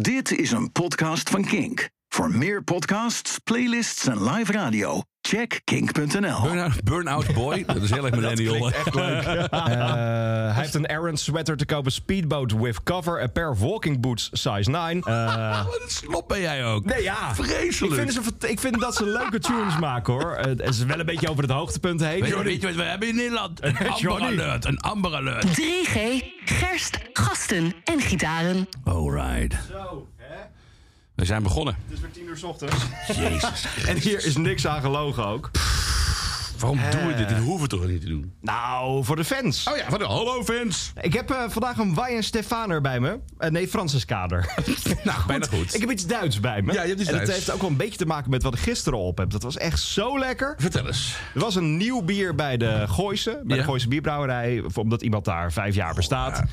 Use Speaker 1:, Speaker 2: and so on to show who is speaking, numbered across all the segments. Speaker 1: Dit is een podcast van Kink. Voor meer podcasts, playlists en live radio, check kink.nl.
Speaker 2: Burnout, burnout Boy, dat is heel erg millennial.
Speaker 3: Eh, hij heeft een Aaron sweater te kopen, speedboat with cover, a pair of walking boots size 9. Eh,
Speaker 2: Oh, Wat een slop ben jij ook.
Speaker 3: nee, ja.
Speaker 2: Vreselijk.
Speaker 3: Ik vind, ze, vert- ik vind dat ze leuke tunes maken, hoor. Eh, Het is wel een beetje over het hoogtepunt heen.
Speaker 2: Weet je, weet je wat we hebben in Nederland? Een Amber
Speaker 3: Johnny.
Speaker 2: Alert. Een Amber Alert.
Speaker 4: 3G, gerst, gasten en gitaren.
Speaker 2: Alright.
Speaker 3: Zo, hè? Het
Speaker 2: We zijn begonnen.
Speaker 3: is weer 10 uur 's ochtends.
Speaker 2: Jezus.
Speaker 3: En hier is niks aan gelogen ook.
Speaker 2: Waarom doen we dit? Dit hoeven we toch niet te doen?
Speaker 3: Nou, voor de fans.
Speaker 2: Oh ja, van de Hallo fans.
Speaker 3: Ik heb eh, vandaag een Wijn Stefaner bij me. Eh, nee, Francis Kader.
Speaker 2: Nou, bijna goed.
Speaker 3: Ik heb iets Duits bij me.
Speaker 2: Ja, je hebt iets
Speaker 3: en dat
Speaker 2: Duits.
Speaker 3: heeft ook wel een beetje te maken met wat ik gisteren op heb. Dat was echt zo lekker.
Speaker 2: Vertel eens.
Speaker 3: Er was een nieuw bier bij de Gooise. Bij
Speaker 2: Ja.
Speaker 3: de Gooise Bierbrouwerij. Omdat iemand daar vijf jaar bestaat.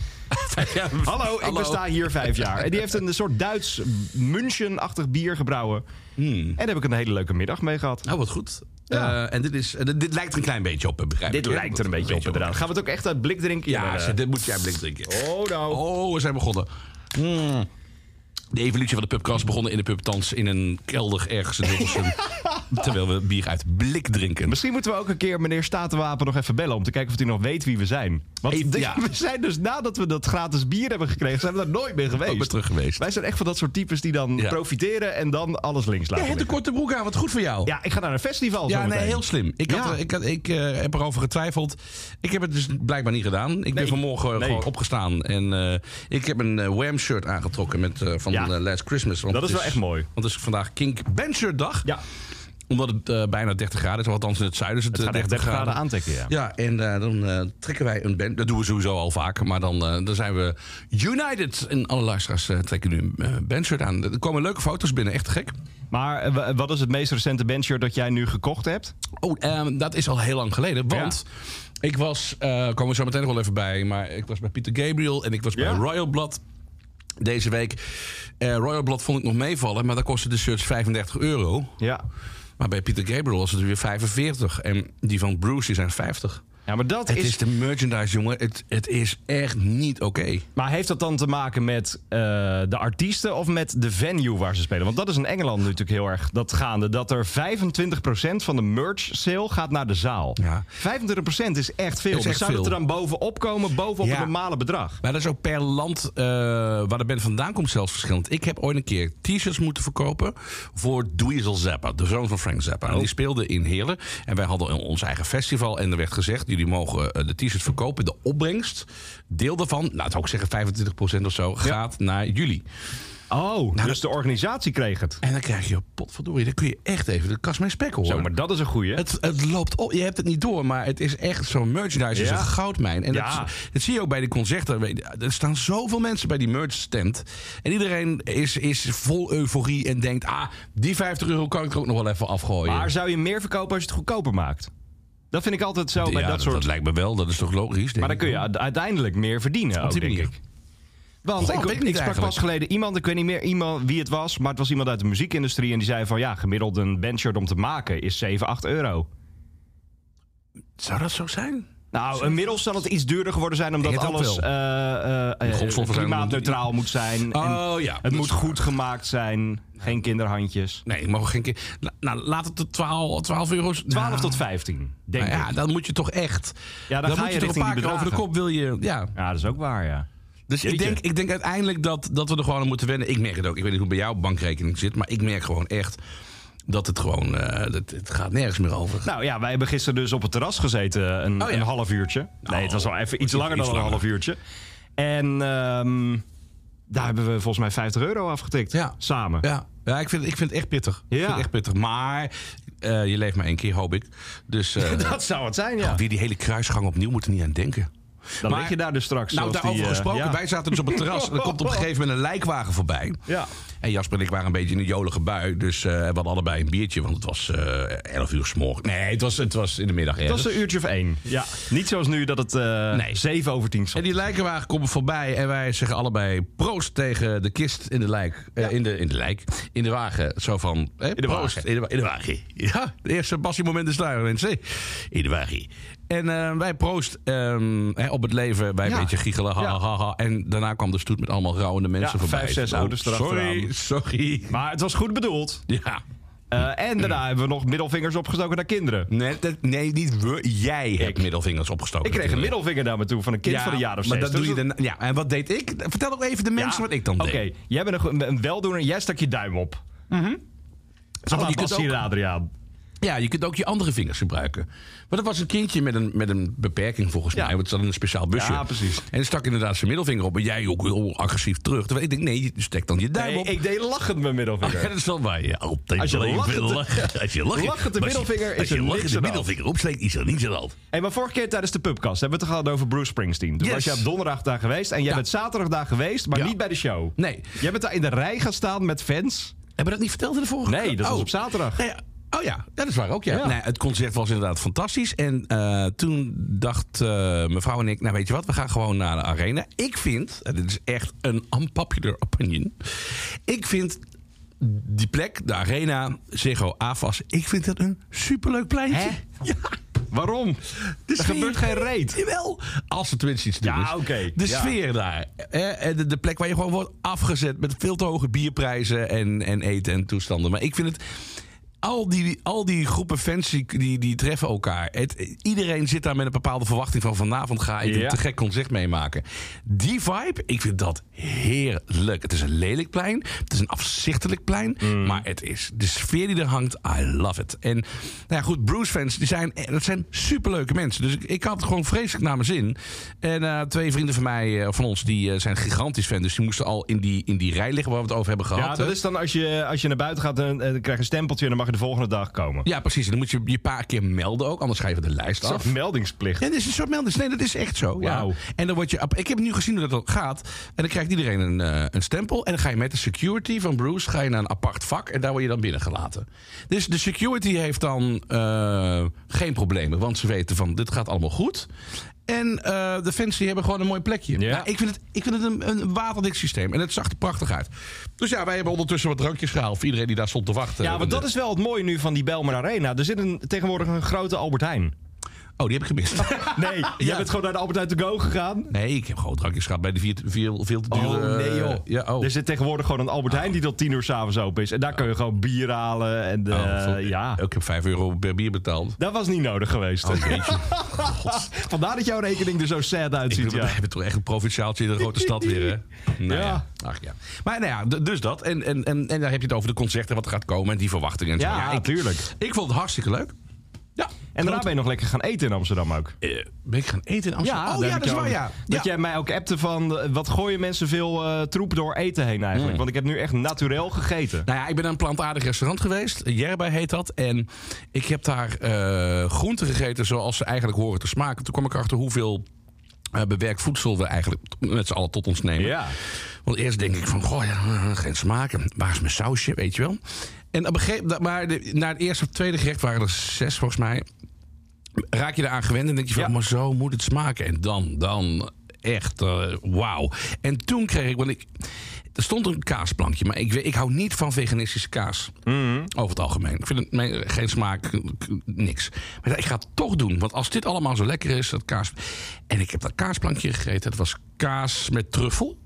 Speaker 3: Hallo, ik besta hier vijf jaar. En die heeft een soort Duits München-achtig bier gebrouwen. En daar heb ik een hele leuke middag mee gehad.
Speaker 2: Nou, wat goed.
Speaker 3: Ja.
Speaker 2: Eh, en dit, is, eh, dit, dit lijkt er een klein beetje op, eh, begrijp
Speaker 3: Dit
Speaker 2: ik, hè?
Speaker 3: lijkt er een beetje op inderdaad. eh, Gaan we het ook echt uit blik drinken?
Speaker 2: Ja,
Speaker 3: Jawel,
Speaker 2: ze-
Speaker 3: hè?
Speaker 2: dit moet jij blik drinken.
Speaker 3: Oh nou.
Speaker 2: Oh, we zijn begonnen. Mm. De evolutie van de pubkast begonnen in de pub, thans in een kelder ergens in Hilversum. terwijl we bier uit blik drinken.
Speaker 3: Misschien moeten we ook een keer meneer Statenwapen nog even bellen... om te kijken of hij nog weet wie we zijn. Want
Speaker 2: Even,
Speaker 3: de-
Speaker 2: ja.
Speaker 3: we zijn dus nadat we dat gratis bier hebben gekregen... zijn we daar nooit meer
Speaker 2: Ook
Speaker 3: geweest.
Speaker 2: weer terug geweest.
Speaker 3: Wij zijn echt van dat soort types die dan
Speaker 2: Ja.
Speaker 3: profiteren... en dan alles links
Speaker 2: Jij
Speaker 3: laten
Speaker 2: hebt een
Speaker 3: liggen.
Speaker 2: korte broek aan, wat goed voor jou.
Speaker 3: Ja, ik ga naar een festival
Speaker 2: Ja, nee,
Speaker 3: zometeen.
Speaker 2: heel slim. Ik, had,
Speaker 3: Ja.
Speaker 2: er- ik, had, ik eh, heb erover getwijfeld. Ik heb het dus blijkbaar niet gedaan. Ik ben
Speaker 3: Nee.
Speaker 2: vanmorgen eh,
Speaker 3: Nee.
Speaker 2: gewoon opgestaan. En eh, ik heb een eh, Wham shirt aangetrokken met, eh, van
Speaker 3: Ja.
Speaker 2: eh, Last Christmas. want
Speaker 3: Dat is
Speaker 2: het
Speaker 3: wel echt mooi.
Speaker 2: Want het is vandaag Kink Bandshirt dag.
Speaker 3: Ja,
Speaker 2: Omdat het eh, bijna 30 graden is. Althans in het zuiden is het,
Speaker 3: het gaat
Speaker 2: eh,
Speaker 3: echt 30 graden aantikken, ja.
Speaker 2: Ja, en eh, dan eh, trekken wij een band. Dat doen we sowieso al vaak. Maar dan, eh, dan zijn we united. En alle luisteraars eh, trekken nu een eh, bandshirt aan. Er komen leuke foto's binnen. Echt gek.
Speaker 3: Maar eh, wa- wat is het meest recente bandshirt dat jij nu gekocht hebt?
Speaker 2: Oh, ehm, dat is al heel lang geleden. Want ik was, eh komen we zo meteen nog wel even bij, maar ik was bij Peter Gabriel en ik was
Speaker 3: Ja?
Speaker 2: bij Royal Blood deze week. Eh, Royal Blood vond ik nog meevallen, maar daar kostte de shirts 35 euro.
Speaker 3: Ja.
Speaker 2: Maar bij Peter Gabriel was het weer 45 en die van Bruce die zijn 50.
Speaker 3: Ja, maar dat
Speaker 2: Het
Speaker 3: is...
Speaker 2: is de merchandise, jongen. Het, het is echt niet oké.
Speaker 3: Maar heeft dat dan te maken met eh, de artiesten of met de venue waar ze spelen? Want dat is in Engeland natuurlijk heel erg dat gaande. Dat er 25% van de merch sale gaat naar de zaal.
Speaker 2: Ja.
Speaker 3: 25% is echt veel.
Speaker 2: Is echt
Speaker 3: dus zou dat er
Speaker 2: veel.
Speaker 3: dan bovenop komen, bovenop
Speaker 2: Ja.
Speaker 3: het normale bedrag?
Speaker 2: Maar dat is ook per land eh, waar de band vandaan komt zelfs verschillend. Ik heb ooit een keer t-shirts moeten verkopen voor Dweezil Zappa, de zoon van Frank Zappa. En die speelde in Heerlen. En wij hadden ons eigen festival. En er werd gezegd, jullie mogen eh, de t-shirts verkopen. De opbrengst, deel daarvan, nou zou ik zeggen 25% of zo, gaat naar jullie.
Speaker 3: Oh, dus de organisatie kreeg het.
Speaker 2: En dan krijg je, potverdorie, dan kun je echt even de kast mee spekken hoor.
Speaker 3: Zo, maar dat is een goeie.
Speaker 2: Het, het loopt op. Je hebt het niet door, maar het is echt zo'n merchandise is
Speaker 3: Ja.
Speaker 2: een goudmijn. En
Speaker 3: Ja.
Speaker 2: dat, dat zie je ook bij de concerten. Weet- Er staan zoveel mensen bij die merch stand. En iedereen is, is vol euforie en denkt... ah, die 50 euro kan ik er ook nog wel even afgooien.
Speaker 3: Maar zou je meer verkopen als je het goedkoper maakt? Dat vind ik altijd zo
Speaker 2: ja,
Speaker 3: bij dat
Speaker 2: dat,
Speaker 3: soort...
Speaker 2: dat lijkt me wel. Dat is toch logisch?
Speaker 3: maar dan kun je u- uiteindelijk meer verdienen ook,
Speaker 2: die
Speaker 3: denk
Speaker 2: manier.
Speaker 3: ik. Want
Speaker 2: Goh,
Speaker 3: ik,
Speaker 2: weet ik
Speaker 3: ik
Speaker 2: niet
Speaker 3: sprak
Speaker 2: eigenlijk.
Speaker 3: pas geleden iemand, ik weet niet meer iemand wie het was... maar het was iemand uit de muziekindustrie en die zei van... ja, gemiddeld een bandshirt om te maken is 7, 8 euro.
Speaker 2: Zou dat zo zijn?
Speaker 3: Nou, inmiddels zal het iets duurder geworden zijn... omdat
Speaker 2: denk het ook
Speaker 3: alles
Speaker 2: wel.
Speaker 3: eh, eh, eh,
Speaker 2: grondstoffen zijn
Speaker 3: klimaatneutraal moet zijn.
Speaker 2: Oh, ja.
Speaker 3: Het
Speaker 2: Dat
Speaker 3: moet
Speaker 2: is waar.
Speaker 3: goed gemaakt zijn, geen kinderhandjes.
Speaker 2: Nee, ik mag geen keer... La- Nou, laat het de 12, 12 euro's...
Speaker 3: 12
Speaker 2: Nou,
Speaker 3: tot 15, denk
Speaker 2: nou ja,
Speaker 3: ik.
Speaker 2: dan moet je toch echt...
Speaker 3: Ja, dan ga
Speaker 2: moet
Speaker 3: je
Speaker 2: je toch een
Speaker 3: richting
Speaker 2: paar
Speaker 3: die
Speaker 2: keer over de
Speaker 3: bedragen.
Speaker 2: kop wil je... Ja,
Speaker 3: Ja, dat is ook waar, ja.
Speaker 2: Dus ik
Speaker 3: Jeetje.
Speaker 2: denk, ik denk uiteindelijk dat, dat we er gewoon aan moeten wennen. Ik merk het ook. Ik weet niet hoe bij jouw bankrekening zit. Maar ik merk gewoon echt dat het gewoon... eh, dat, het gaat nergens meer over.
Speaker 3: Nou ja, wij hebben gisteren dus op het terras gezeten eh, een,
Speaker 2: Oh ja.
Speaker 3: een half uurtje. nee, het was wel even iets
Speaker 2: iets
Speaker 3: langer dan
Speaker 2: langer.
Speaker 3: een half uurtje. En ehm, daar hebben we volgens mij 50 euro afgetikt.
Speaker 2: Ja.
Speaker 3: Samen.
Speaker 2: ja, ja ik, vind, ik vind het echt pittig. Ik
Speaker 3: Ja.
Speaker 2: vind het echt pittig. Maar eh, je leeft maar één keer, hoop ik. Dus eh,
Speaker 3: Dat zou het zijn, ja.
Speaker 2: weer die hele kruisgang opnieuw moeten niet aan denken.
Speaker 3: Dan
Speaker 2: maar-
Speaker 3: lig je daar dus straks.
Speaker 2: Nou,
Speaker 3: zoals die,
Speaker 2: daarover
Speaker 3: eh,
Speaker 2: gesproken.
Speaker 3: ja.
Speaker 2: Wij zaten dus op het terras. En er komt op een gegeven moment een lijkwagen voorbij.
Speaker 3: Ja.
Speaker 2: En Jasper en ik waren een beetje in een jolige bui. Dus eh, we hadden allebei een biertje, want het was eh 11 uur s'morgen. Nee, het was, het was in de middag.
Speaker 3: Dat was
Speaker 2: ergens.
Speaker 3: een uurtje of één. Ja. Niet zoals nu dat het eh
Speaker 2: Nee.
Speaker 3: 7 over 10
Speaker 2: En
Speaker 3: stond.
Speaker 2: die lijkenwagen komt voorbij en wij zeggen allebei proost tegen de kist in de lijk. eh, in, de, in de lijk. In de wagen. Zo van. eh,
Speaker 3: de
Speaker 2: proost.
Speaker 3: wagen.
Speaker 2: In, de, wa- in de wagen. Ja, de eerste Bassie moment is daar. Mensen. In de wagen. En eh, wij proost ehm, hè, op het leven. Wij
Speaker 3: Ja.
Speaker 2: een beetje giechelen. Ha,
Speaker 3: Ja.
Speaker 2: ha, ha, ha. En daarna kwam de stoet met allemaal rouwende mensen
Speaker 3: Ja,
Speaker 2: voorbij. Nou,
Speaker 3: vijf, zes ouders
Speaker 2: Sorry,
Speaker 3: erachteraan.
Speaker 2: sorry.
Speaker 3: Maar het was goed bedoeld.
Speaker 2: Ja.
Speaker 3: Eh, en daarna hebben we nog middelvingers opgestoken naar kinderen.
Speaker 2: Nee, dat- nee, niet we. Jij hebt middelvingers opgestoken.
Speaker 3: Ik kreeg een
Speaker 2: natuurlijk.
Speaker 3: middelvinger naar me toe van een kind van een jaar of zes.
Speaker 2: maar dat
Speaker 3: Dus
Speaker 2: doe je
Speaker 3: dat-
Speaker 2: dan, ja, en wat deed ik? Vertel ook even de
Speaker 3: Ja.
Speaker 2: mensen wat ik dan deed.
Speaker 3: Oké, jij bent een, go- een weldoener. Jij stak je duim op.
Speaker 2: Zo van,
Speaker 3: Alla
Speaker 2: je kunt
Speaker 3: Bassie
Speaker 2: Oh, ook-
Speaker 3: en Adriaan.
Speaker 2: Ja, je kunt ook je andere vingers gebruiken. Maar dat was een kindje met een, met een beperking volgens
Speaker 3: Ja.
Speaker 2: mij. Want het zat in een speciaal busje.
Speaker 3: Ja, precies.
Speaker 2: En stak inderdaad zijn middelvinger op. En jij ook heel agressief terug. Terwijl ik denk, nee, je steekt dan je duim
Speaker 3: Nee,
Speaker 2: op.
Speaker 3: ik deed lachend mijn middelvinger.
Speaker 2: Ja, dat is wel waar. Ja, altijd
Speaker 3: Als je
Speaker 2: alleen
Speaker 3: lachend-
Speaker 2: wil lachen. Als je lacht,
Speaker 3: lachend de
Speaker 2: maar als je-
Speaker 3: middelvinger is
Speaker 2: Als
Speaker 3: er
Speaker 2: je
Speaker 3: niks
Speaker 2: lachend de
Speaker 3: aan de hand.
Speaker 2: middelvinger opsteekt, is er niets aan de hand.
Speaker 3: Hey, maar vorige keer tijdens de pubcast hebben we het gehad over Bruce Springsteen. Toen
Speaker 2: Yes.
Speaker 3: was jij op donderdag daar geweest en jij
Speaker 2: Ja.
Speaker 3: bent zaterdag daar geweest, maar
Speaker 2: Ja.
Speaker 3: niet bij de show.
Speaker 2: Nee.
Speaker 3: Jij bent daar in de rij gaan staan met fans.
Speaker 2: Hebben we dat niet verteld in de vorige
Speaker 3: Nee, dat
Speaker 2: is
Speaker 3: was op zaterdag.
Speaker 2: Nou ja, Oh ja, dat is waar ook. Ja.
Speaker 3: Ja.
Speaker 2: Nee, het concert was inderdaad fantastisch. En eh, toen dacht eh, mevrouw en ik, nou weet je wat, we gaan gewoon naar de arena. Ik vind, en dit is echt een unpopular opinion. Ik vind die plek, de arena, Ziggo AFAS, ik vind dat een superleuk pleintje.
Speaker 3: Hè?
Speaker 2: Ja,
Speaker 3: Waarom?
Speaker 2: de
Speaker 3: er gebeurt geen reet.
Speaker 2: Jawel, als er tenminste iets te doen
Speaker 3: Ja,
Speaker 2: is.
Speaker 3: oké,
Speaker 2: De
Speaker 3: ja.
Speaker 2: sfeer daar. eh, en de, de plek waar je gewoon wordt afgezet met veel te hoge bierprijzen en, en eten en toestanden. Maar ik vind het... Al die, al die groepen fans die, die, die treffen elkaar. Het, iedereen zit daar met een bepaalde verwachting van vanavond ga ik een
Speaker 3: Ja.
Speaker 2: te gek concert meemaken. Die vibe, ik vind dat heerlijk. Het is een lelijk plein, het is een afzichtelijk plein,
Speaker 3: Mm.
Speaker 2: maar het is de sfeer die er hangt, I love it. En nou ja, goed, Bruce fans, die zijn, eh, dat zijn superleuke mensen. Dus ik, ik had het gewoon vreselijk naar mijn zin. En eh, twee vrienden van mij, eh, van ons, die eh, zijn gigantisch fan, dus die moesten al in die, in die rij liggen waar we het over hebben gehad.
Speaker 3: Ja, dat
Speaker 2: hè.
Speaker 3: is dan als je, als je naar buiten gaat, dan, eh, dan krijg je een stempeltje en dan mag je de volgende dag komen.
Speaker 2: Ja, precies. En dan moet je je een paar keer melden ook, anders schrijven we de lijst
Speaker 3: Dat
Speaker 2: af.
Speaker 3: is een meldingsplicht.
Speaker 2: Ja, dit is een soort melding. Nee, dat is echt zo. Ja.
Speaker 3: Wauw.
Speaker 2: En dan word je. Ik heb nu gezien hoe dat dan gaat. En dan krijgt iedereen een, eh, een stempel. En dan ga je met de security van Bruce ga je naar een apart vak. En daar word je dan binnengelaten. Dus de security heeft dan eh, geen problemen. Want ze weten van dit gaat allemaal goed. En eh, de fans die hebben gewoon een mooi plekje.
Speaker 3: Ja.
Speaker 2: Nou, ik vind het, ik vind het een, een waterdik systeem. En het zag er prachtig uit. Dus ja, wij hebben ondertussen wat drankjes gehaald. Voor iedereen die daar stond te wachten.
Speaker 3: Ja, want dat is wel het mooie nu van die Belmer Arena. Er zit een, tegenwoordig een grote Albert Heijn.
Speaker 2: Oh, die heb ik gemist.
Speaker 3: Nee, jij bent gewoon naar de Albert Heijn to go gegaan.
Speaker 2: nee, ik heb gewoon drankjes gehad bij de vier, veel, veel te dure...
Speaker 3: Oh, nee, joh.
Speaker 2: eh, Ja, oh.
Speaker 3: Er zit tegenwoordig gewoon een Albert Heijn die tot tien uur s'avonds open is. En daar kun je gewoon bier halen. En, eh,
Speaker 2: Oh, sorry.
Speaker 3: ja.
Speaker 2: Ik heb 5 euro per bier betaald.
Speaker 3: Dat was niet nodig geweest.
Speaker 2: Oh,
Speaker 3: Vandaar dat jouw rekening er zo sad uitziet.
Speaker 2: We
Speaker 3: Ja.
Speaker 2: hebben toch echt een provinciaaltje in de grote stad weer, hè? Nou
Speaker 3: Ja.
Speaker 2: Ach, ja. Maar nou ja, d- dus dat. En, en, en, en daar heb je het over de concerten, wat er gaat komen en die verwachtingen. En zo.
Speaker 3: Ja,
Speaker 2: ik,
Speaker 3: tuurlijk.
Speaker 2: Ik vond het hartstikke leuk. Ja.
Speaker 3: En daarna
Speaker 2: Groot-
Speaker 3: ben je nog lekker gaan eten in Amsterdam ook.
Speaker 2: eh, ben ik gaan eten in Amsterdam.
Speaker 3: daar
Speaker 2: oh ja,
Speaker 3: heb
Speaker 2: dat
Speaker 3: ik
Speaker 2: is
Speaker 3: jou
Speaker 2: waar,
Speaker 3: over-
Speaker 2: ja.
Speaker 3: Dat jij mij ook appte van, eh, wat gooien mensen veel eh, troep door eten heen
Speaker 2: Hmm.
Speaker 3: eigenlijk? Want ik heb nu echt naturel gegeten.
Speaker 2: Nou ja, ik ben aan een plantaardig restaurant geweest. Jerba heet dat. En ik heb daar eh, groenten gegeten zoals ze eigenlijk horen te smaken. Toen kwam ik achter hoeveel eh, bewerkt voedsel we eigenlijk t- met z'n allen tot ons nemen.
Speaker 3: Ja.
Speaker 2: Want eerst denk ik van, goh, ja, geen smaken. Waar is mijn sausje, weet je wel? En op een gegeven, dat- maar de, na het eerste of tweede gerecht waren er zes volgens mij. Raak je eraan gewend en denk je van,
Speaker 3: Ja.
Speaker 2: maar zo moet het smaken. En dan, dan echt, eh, wauw. En toen kreeg ik, want ik, er stond een kaasplankje, maar ik, weet- ik hou niet van veganistische kaas.
Speaker 3: Mhm.
Speaker 2: Over het algemeen. Ik vind het me- geen smaak, k- k- niks. Maar ik ga het toch doen. Want als dit allemaal zo lekker is, dat kaas. En ik heb dat kaasplankje gegeten. Dat was kaas met truffel.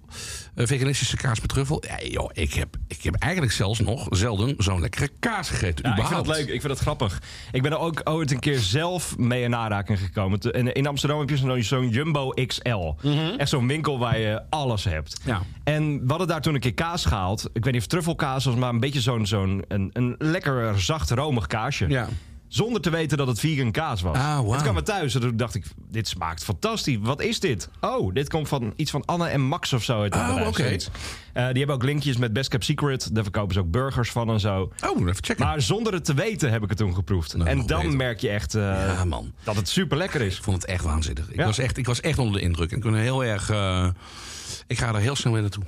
Speaker 2: Eh, veganistische kaas met truffel. Ja, joh, ik heb, ik heb eigenlijk zelfs nog zelden zo'n lekkere kaas gegeten.
Speaker 3: Ja, ik vind
Speaker 2: überhaupt.
Speaker 3: dat leuk, ik vind dat grappig. Ik ben er ook ooit een keer zelf mee in aanraking gekomen. Te- en In Amsterdam heb je zo'n- zo'n Jumbo XL. Echt zo'n winkel waar je alles hebt.
Speaker 2: Mhm. Ja.
Speaker 3: En we hadden daar toen een keer kaas gehaald. Ik weet niet of truffelkaas was, maar een beetje zo'n zo'n een, een lekker zacht romig kaasje.
Speaker 2: Ja.
Speaker 3: Zonder te weten dat het vegan kaas was.
Speaker 2: Ah, wauw.
Speaker 3: Het kwam er thuis en toen dacht ik, dit smaakt fantastisch. Wat is dit? Oh, dit komt van iets van Anne en Max of zo. Uit dat
Speaker 2: Oh,
Speaker 3: bedrijf,
Speaker 2: oké.
Speaker 3: zoiets. Eh, die hebben ook linkjes met Best Kept Secret. Daar verkopen ze ook burgers van en zo.
Speaker 2: Oh, even checken.
Speaker 3: Maar zonder het te weten heb ik het toen geproefd.
Speaker 2: Nou,
Speaker 3: en
Speaker 2: nog
Speaker 3: dan
Speaker 2: beter.
Speaker 3: merk je echt eh,
Speaker 2: ja, man.
Speaker 3: dat het super lekker is.
Speaker 2: Ik vond het echt waanzinnig. Ik,
Speaker 3: Ja.
Speaker 2: was, echt, ik was echt onder de indruk. En ik ben heel erg. eh, ik ga er heel snel weer naartoe.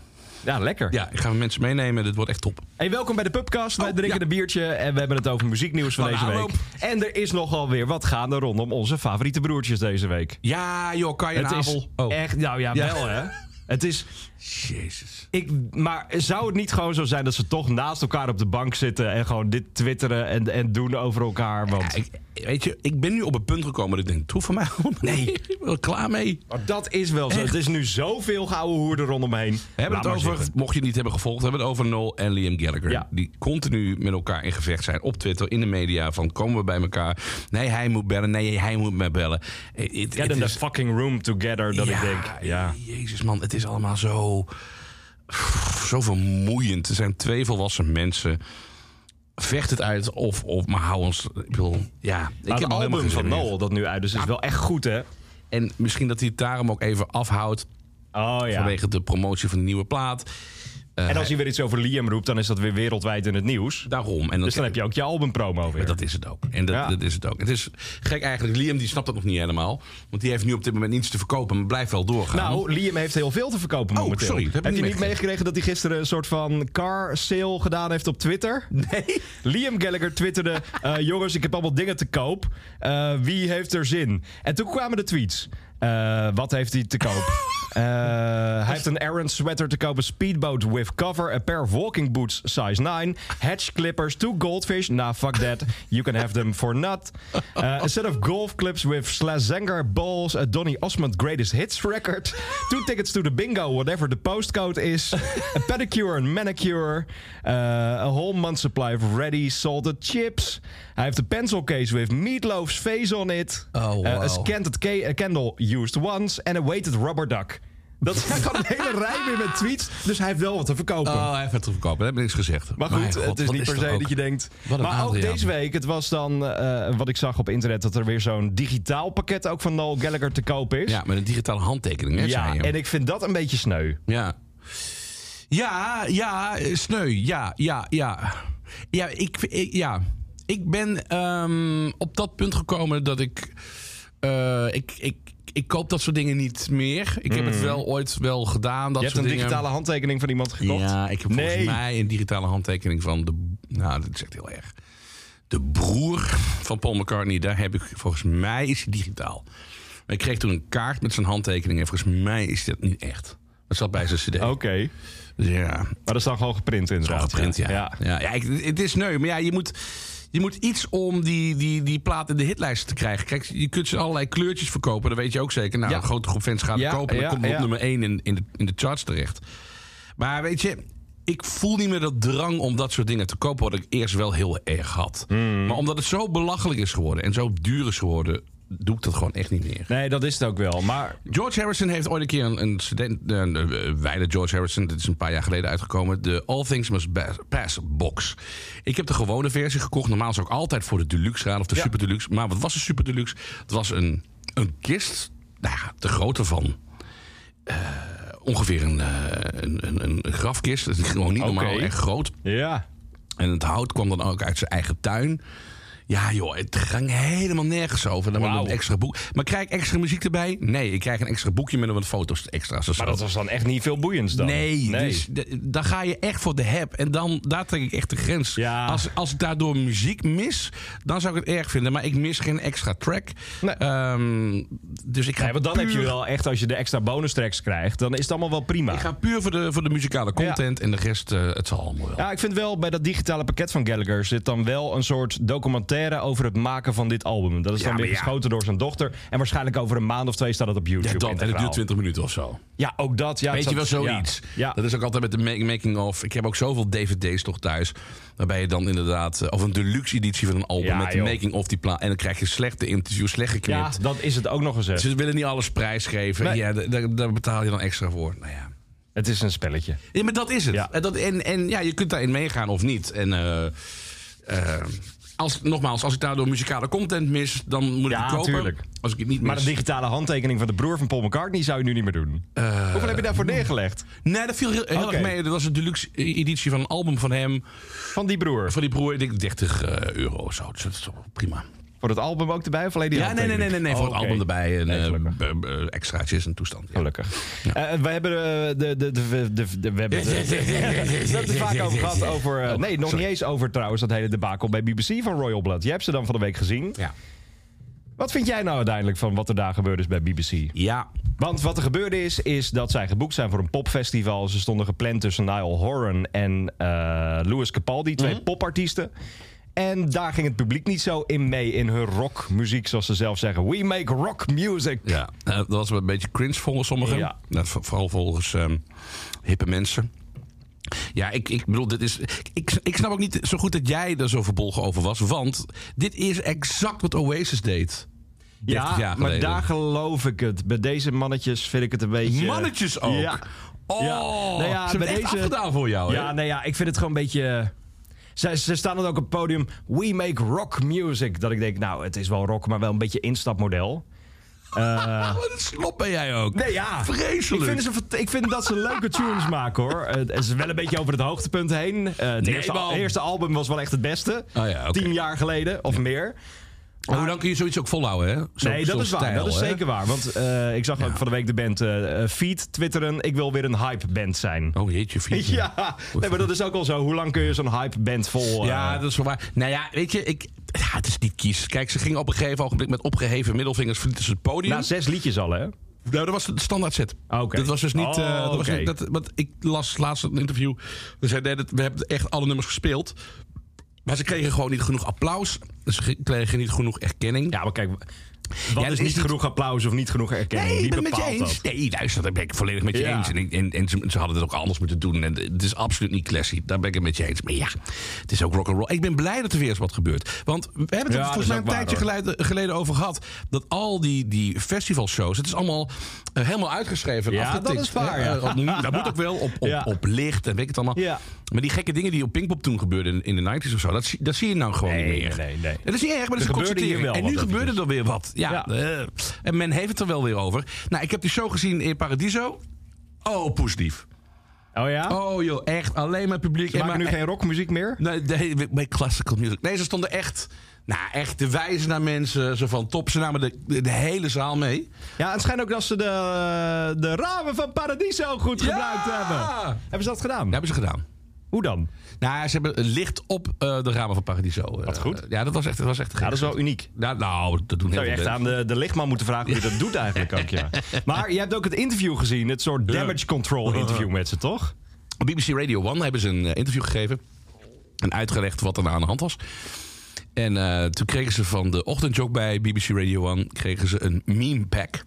Speaker 3: Ja, lekker.
Speaker 2: Ja, ik ga mensen meenemen. Dit wordt echt top.
Speaker 3: Hey, welkom bij de Pubcast. Wij
Speaker 2: Oh,
Speaker 3: drinken
Speaker 2: ja.
Speaker 3: een biertje en we hebben het over muzieknieuws van
Speaker 2: Wat
Speaker 3: deze
Speaker 2: een
Speaker 3: week.
Speaker 2: aanloop.
Speaker 3: En er is nogal weer wat gaande rondom onze favoriete broertjes deze week.
Speaker 2: Ja, joh, kan je
Speaker 3: Het
Speaker 2: een
Speaker 3: is
Speaker 2: avond. Oh,
Speaker 3: echt, nou ja,
Speaker 2: Ja.
Speaker 3: wel hè. Het is,
Speaker 2: jezus.
Speaker 3: ik, maar zou het niet gewoon zo zijn dat ze toch naast elkaar op de bank zitten en gewoon dit twitteren en, en doen over elkaar? Want
Speaker 2: Ja, ik, weet je, ik ben nu op het punt gekomen dat ik denk, het hoeft van mij allemaal Nee. Ik ben er klaar mee.
Speaker 3: Maar dat is wel zo.
Speaker 2: Echt?
Speaker 3: Het is nu zoveel gouden hoer er rondomheen.
Speaker 2: We hebben
Speaker 3: Laat
Speaker 2: het
Speaker 3: maar
Speaker 2: over,
Speaker 3: zitten.
Speaker 2: mocht je het niet hebben gevolgd, hebben we het over Noel en Liam Gallagher.
Speaker 3: Ja.
Speaker 2: Die continu met elkaar in gevecht zijn op Twitter, in de media. Van komen we bij elkaar? Nee, hij moet bellen. Nee, hij moet mij bellen. Eh, het-
Speaker 3: Get
Speaker 2: het
Speaker 3: in the
Speaker 2: is-
Speaker 3: fucking room together, dat ik denk. Ja.
Speaker 2: Jezus man, het is allemaal zo, zo vermoeiend. Er zijn twee volwassen mensen. Vecht het uit of, of maar hou ons... Ik bedoel, ja. Ik
Speaker 3: Maar
Speaker 2: heb
Speaker 3: het
Speaker 2: al helemaal
Speaker 3: album
Speaker 2: geen zin
Speaker 3: van
Speaker 2: meer.
Speaker 3: Noel dat nu uit is, is wel echt goed, hè?
Speaker 2: En misschien dat hij het daarom ook even afhoudt...
Speaker 3: Oh ja.
Speaker 2: vanwege de promotie van de nieuwe plaat. Eh,
Speaker 3: En als hij weer iets over Liam roept, dan is dat weer wereldwijd in het nieuws.
Speaker 2: Daarom. En dan
Speaker 3: Dus dan heb je ook je albumpromo weer.
Speaker 2: Dat is het ook. En dat,
Speaker 3: Ja.
Speaker 2: dat is het ook. Het is gek eigenlijk. Liam die snapt dat nog niet helemaal. Want die heeft nu op dit moment niets te verkopen. Maar blijft wel doorgaan.
Speaker 3: Nou, Liam heeft heel veel te verkopen
Speaker 2: Oh,
Speaker 3: momenteel.
Speaker 2: sorry, dat heb
Speaker 3: heb
Speaker 2: ik niet
Speaker 3: je niet
Speaker 2: meegekregen.
Speaker 3: meegekregen dat hij gisteren een soort van car sale gedaan heeft op Twitter? Nee. Liam Gallagher twitterde: eh, Jongens, ik heb allemaal dingen te koop. Eh, wie heeft er zin? En toen kwamen de tweets. Eh, wat heeft hij te koop? Eh, hij heeft een Aaron sweater te kopen, speedboat with cover, a pair of walking boots size 9, hedge clippers, two goldfish. Nah, fuck that. You can have them for not. Uh, a set of golf clips with Slazenger balls, a Donny Osmond greatest hits record, two tickets to the bingo, whatever the postcode is, a pedicure and manicure, uh, a whole month supply of ready salted chips. Hij heeft een pencil case with meatloaf's face on it,
Speaker 2: Oh,
Speaker 3: uh, a
Speaker 2: wow.
Speaker 3: scented ca- a candle used once, en a weighted rubber duck. Dat zijn gewoon een hele rij weer met tweets. Dus hij heeft wel wat te verkopen.
Speaker 2: Oh, hij heeft het te verkopen. Dat heb ik niks gezegd.
Speaker 3: Maar goed,
Speaker 2: Mijn god,
Speaker 3: het is
Speaker 2: wat
Speaker 3: niet per
Speaker 2: dat
Speaker 3: se
Speaker 2: ook?
Speaker 3: dat je denkt.
Speaker 2: Wat een
Speaker 3: Maar ook
Speaker 2: Adriaan.
Speaker 3: deze week, het was dan eh, wat ik zag op internet, dat er weer zo'n digitaal pakket ook van Noel Gallagher te koop is.
Speaker 2: Ja, met een digitale handtekening. Hè,
Speaker 3: Ja,
Speaker 2: zei je.
Speaker 3: en ik vind dat een beetje sneu.
Speaker 2: Ja. Ja, ja, eh, sneu. Ja, ja, ja. Ja, ik, ik- ja. ik ben ehm, op dat punt gekomen dat ik, eh, ik, ik... Ik koop dat soort dingen niet meer. Ik heb het wel ooit wel gedaan. Dat
Speaker 3: Mm. Je hebt een
Speaker 2: soort dingen.
Speaker 3: digitale handtekening van iemand gekocht.
Speaker 2: Ja, ik heb volgens
Speaker 3: Nee.
Speaker 2: mij een digitale handtekening van de... Nou, dat is echt heel erg. De broer van Paul McCartney, daar heb ik... Volgens mij is hij digitaal. Maar ik kreeg toen een kaart met zijn handtekening. En volgens mij is dat niet echt. Dat zat bij zijn cd.
Speaker 3: Oké,
Speaker 2: Dus ja,
Speaker 3: maar dat is dan gewoon geprint inderdaad.
Speaker 2: geprint, ja. Ja. ja. ik- het is neu, maar ja, je moet, je moet iets om die, die, die plaat in de hitlijst te krijgen. Kijk, je kunt ze allerlei kleurtjes verkopen, dat weet je ook zeker. Nou,
Speaker 3: Ja.
Speaker 2: een grote groep fans gaat
Speaker 3: Ja,
Speaker 2: het kopen en
Speaker 3: ja,
Speaker 2: dan komt het
Speaker 3: ja.
Speaker 2: op nummer 1 in, in, de, in de charts terecht. Maar weet je, ik voel niet meer dat drang om dat soort dingen te kopen... wat ik eerst wel heel erg had.
Speaker 3: Hmm.
Speaker 2: Maar omdat het zo belachelijk is geworden en zo duur is geworden... doe ik dat gewoon echt niet meer.
Speaker 3: Nee, dat is het ook wel. Maar
Speaker 2: George Harrison heeft ooit een keer een, een student, een, eh, wijde George Harrison, dit is een paar jaar geleden uitgekomen, de All Things Must Ba- Pass box. Ik heb de gewone versie gekocht. Normaal zou ik altijd voor de deluxe gaan of de super deluxe. Maar wat was een super deluxe? Het was een, een kist, nou ja, de grootte van eh, ongeveer een, eh, een, een, een grafkist. Het is gewoon niet normaal,
Speaker 3: Oké.
Speaker 2: echt groot.
Speaker 3: ja,
Speaker 2: En het hout kwam dan ook uit zijn eigen tuin. Ja joh, het ging helemaal nergens over. Dan
Speaker 3: Wauw.
Speaker 2: met een extra boek. Maar krijg ik extra muziek erbij? Nee, ik krijg een extra boekje met wat foto's extra's. of
Speaker 3: maar
Speaker 2: zo.
Speaker 3: dat was dan echt niet veel boeiends dan.
Speaker 2: Nee, Dus, de- daar ga je echt voor de heb. En dan, daar trek ik echt de grens.
Speaker 3: Ja.
Speaker 2: Als, als ik daardoor muziek mis, dan zou ik het erg vinden. Maar ik mis geen extra track.
Speaker 3: Nee.
Speaker 2: Ehm, dus ik ga
Speaker 3: Nee, want dan
Speaker 2: puur,
Speaker 3: heb je wel echt, als je de extra bonus tracks krijgt, dan is het allemaal wel prima.
Speaker 2: Ik ga puur voor de, voor de muzikale content. En de rest, eh, het zal allemaal wel.
Speaker 3: Ja, ik vind wel bij dat digitale pakket van Gallagher zit dan wel een soort documentaire over het maken van dit album. Dat is
Speaker 2: Ja,
Speaker 3: dan weer
Speaker 2: maar ja.
Speaker 3: geschoten door zijn dochter. En waarschijnlijk over een maand of twee staat het op
Speaker 2: Ja,
Speaker 3: YouTube.
Speaker 2: dat, en het
Speaker 3: integraal.
Speaker 2: duurt 20 minuten of zo.
Speaker 3: Ja, ook dat. Ja,
Speaker 2: Weet
Speaker 3: het
Speaker 2: je wel
Speaker 3: zat-
Speaker 2: zoiets?
Speaker 3: Ja. ja.
Speaker 2: Dat is ook altijd met de ma- making of. Ik heb ook zoveel DVD's toch thuis. Waarbij je dan inderdaad. eh, Of een deluxe editie van een album
Speaker 3: Ja,
Speaker 2: met de
Speaker 3: joh.
Speaker 2: making of die plaat. En dan krijg je slechte interviews, slecht
Speaker 3: Ja,
Speaker 2: geknipt.
Speaker 3: dat is het ook nog eens. hè.
Speaker 2: Ze willen niet alles prijsgeven.
Speaker 3: Nee.
Speaker 2: Ja, daar- daar, daar betaal je dan extra voor. Nou ja.
Speaker 3: Het is een spelletje.
Speaker 2: ja, maar dat is het.
Speaker 3: Ja.
Speaker 2: En, dat, en, en ja, je kunt daarin meegaan of niet. En eh, eh, als, nogmaals, als ik daardoor muzikale content mis, dan moet ik
Speaker 3: Ja,
Speaker 2: het kopen.
Speaker 3: tuurlijk.
Speaker 2: Als ik het niet mis.
Speaker 3: Maar de digitale handtekening van de broer van Paul McCartney zou je nu niet meer doen. Hoeveel heb je daarvoor neergelegd?
Speaker 2: Eh, Nee, dat viel heel, heel
Speaker 3: Oké.
Speaker 2: erg mee. Dat was een deluxe editie van een album van hem.
Speaker 3: Van die broer.
Speaker 2: Voor die broer, ik denk 30 eh, euro of zo. Dus dat is toch prima.
Speaker 3: Voor Voor dat album ook erbij? Of alleen die Oh,
Speaker 2: Ja, nee, nee, nee, nee, nee. voor het album
Speaker 3: erbij.
Speaker 2: erbij en
Speaker 3: Nee,
Speaker 2: eh,
Speaker 3: gelukkig. Oh,
Speaker 2: b- b- extraatjes en toestand. Ja.
Speaker 3: Gelukkig. Eh, we hebben eh, de, de, de, de, de, we hebben het, eh, we hebben het er vaak over gehad. Over, eh,
Speaker 2: Oh,
Speaker 3: nee, nog
Speaker 2: sorry.
Speaker 3: niet eens over trouwens dat hele debakel bij BBC van Royal Blood. Je hebt ze dan van de week gezien.
Speaker 2: Ja.
Speaker 3: Wat vind jij nou uiteindelijk van wat er daar gebeurd is bij BBC?
Speaker 2: Ja.
Speaker 3: Want wat er gebeurde is, is dat zij geboekt zijn voor een popfestival. Ze stonden gepland tussen Niall Horan en eh Louis Capaldi, twee
Speaker 2: Mhm.
Speaker 3: popartiesten. En daar ging het publiek niet zo in mee in hun rockmuziek, zoals ze zelf zeggen. We make rock music.
Speaker 2: Ja, eh, dat was wel een beetje cringe volgens sommigen.
Speaker 3: Ja.
Speaker 2: Nou, voor- vooral volgens ehm, hippe mensen. Ja, ik, ik bedoel, dit is, ik, ik snap ook niet zo goed dat jij er zo verbolgen over was. Want dit is exact wat Oasis deed. 30 jaar
Speaker 3: maar
Speaker 2: geleden.
Speaker 3: daar geloof ik het. Bij deze mannetjes vind ik het een beetje...
Speaker 2: Mannetjes ook.
Speaker 3: Ja.
Speaker 2: Oh,
Speaker 3: Ja. Nou ja,
Speaker 2: ze
Speaker 3: bij
Speaker 2: hebben echt
Speaker 3: deze-
Speaker 2: afgedaan voor jou. hè?
Speaker 3: Ja, nee, ja, ik vind het gewoon een beetje... Ze, ze staan dan ook op het podium. We make rock music. Dat ik denk, nou, het is wel rock, maar wel een beetje instapmodel.
Speaker 2: Ah, wat een slop ben jij ook.
Speaker 3: Nee, ja.
Speaker 2: Vreselijk.
Speaker 3: Ik vind, ze, vert- ik vind dat ze leuke tunes maken, hoor. Eh, Het is wel een beetje over het hoogtepunt heen. Eh, het
Speaker 2: Nee,
Speaker 3: eerste,
Speaker 2: man.
Speaker 3: eerste album was wel echt het beste.
Speaker 2: Oh ja, oké.
Speaker 3: Tien jaar geleden, of meer.
Speaker 2: Maar hoe lang kun je zoiets ook volhouden, hè? Zo-
Speaker 3: nee, dat
Speaker 2: zo'n
Speaker 3: is waar.
Speaker 2: stijl,
Speaker 3: dat is
Speaker 2: hè?
Speaker 3: zeker waar. Want eh, ik zag ook van de week de band eh eh, Feet twitteren. Ik wil weer een hype-band zijn.
Speaker 2: Oh jeetje, vier.
Speaker 3: Ja, nee, maar dat is ook al zo. Hoe lang kun je zo'n hype-band vol... eh,
Speaker 2: Ja, dat is wel waar. Nou ja, weet je, ik, ja, het is niet kies. Kijk, ze gingen op een gegeven ogenblik met opgeheven middelvingers verlieten ze het podium.
Speaker 3: Na zes liedjes al, hè?
Speaker 2: Nou, dat was de standaard set.
Speaker 3: Ah, oké.
Speaker 2: Dat was dus niet. eh,
Speaker 3: Oh,
Speaker 2: dat was
Speaker 3: oké.
Speaker 2: niet dat, want ik las laatst een interview. Ze zei, nee, dat, we hebben echt alle nummers gespeeld. Maar ze kregen gewoon niet genoeg applaus. Ze ge- kregen niet genoeg erkenning.
Speaker 3: Ja, maar kijk, wat
Speaker 2: dat is
Speaker 3: is dus niet
Speaker 2: niet-
Speaker 3: genoeg applaus of niet genoeg erkenning?
Speaker 2: Nee, ik
Speaker 3: Wie
Speaker 2: ben het met je
Speaker 3: bepaalt
Speaker 2: eens.
Speaker 3: dat?
Speaker 2: Nee, luister, dat ben ik volledig met je
Speaker 3: Ja.
Speaker 2: eens. En, ik- en, en ze, ze hadden het ook anders moeten doen. En het is absoluut niet classy. Daar ben ik het met je eens. Maar ja, het is ook rock'n'roll. Ik ben blij dat er weer eens wat gebeurt. Want we hebben het
Speaker 3: Ja,
Speaker 2: er
Speaker 3: dat
Speaker 2: volgens
Speaker 3: is
Speaker 2: mij een
Speaker 3: ook waar,
Speaker 2: tijdje
Speaker 3: hoor.
Speaker 2: geleden, geleden over gehad. Dat al die, die festivalshows, het is allemaal eh, helemaal uitgeschreven. en
Speaker 3: Ja, dat
Speaker 2: afgetikt.
Speaker 3: is waar, ja.
Speaker 2: Eh, op- dat moet ook wel op, op,
Speaker 3: Ja.
Speaker 2: op licht en weet ik het allemaal.
Speaker 3: Ja.
Speaker 2: Maar die gekke dingen die op Pinkpop toen gebeurden in, in de 90s of zo, dat, zie- dat zie je nou gewoon
Speaker 3: Nee,
Speaker 2: niet meer.
Speaker 3: nee, nee, nee.
Speaker 2: En Dat is niet erg, maar dat is
Speaker 3: Er
Speaker 2: een
Speaker 3: gebeurde hier
Speaker 2: constatering.
Speaker 3: wel
Speaker 2: En
Speaker 3: wat
Speaker 2: nu
Speaker 3: eventjes.
Speaker 2: gebeurde er weer wat. Ja,
Speaker 3: Ja.
Speaker 2: eh, en men heeft het er wel weer over. Nou, ik heb die show gezien in Paradiso. Oh, poesdief.
Speaker 3: Oh ja?
Speaker 2: Oh joh, echt. Alleen maar publiek.
Speaker 3: Ze
Speaker 2: en
Speaker 3: maken
Speaker 2: maar-
Speaker 3: nu geen rockmuziek meer?
Speaker 2: Nee, nee, bij classical music. Nee, ze stonden echt... Nou, echt de wijzen naar mensen. Zo van top. Ze namen de, de, de hele zaal mee.
Speaker 3: Ja, het schijnt ook dat ze de, de ramen van Paradiso goed
Speaker 2: Ja!
Speaker 3: gebruikt hebben. Hebben ze dat gedaan?
Speaker 2: Dat hebben ze gedaan.
Speaker 3: Hoe dan?
Speaker 2: Nou, ze hebben licht op eh, de ramen van Paradiso. Wat
Speaker 3: goed.
Speaker 2: Ja, dat was echt, dat was echt
Speaker 3: Ja, dat is wel uniek.
Speaker 2: Nou, nou, dat doen heel
Speaker 3: Zou je
Speaker 2: veel
Speaker 3: echt
Speaker 2: mensen.
Speaker 3: aan de, de lichtman moeten vragen hoe je dat doet eigenlijk ook, ja. Maar je hebt ook het interview gezien, het soort damage control interview met ze, toch?
Speaker 2: Op BBC Radio 1 hebben ze een eh, interview gegeven. En uitgelegd wat er nou aan de hand was. En eh, toen kregen ze van de ochtendjog bij BBC Radio 1 kregen ze een meme pack.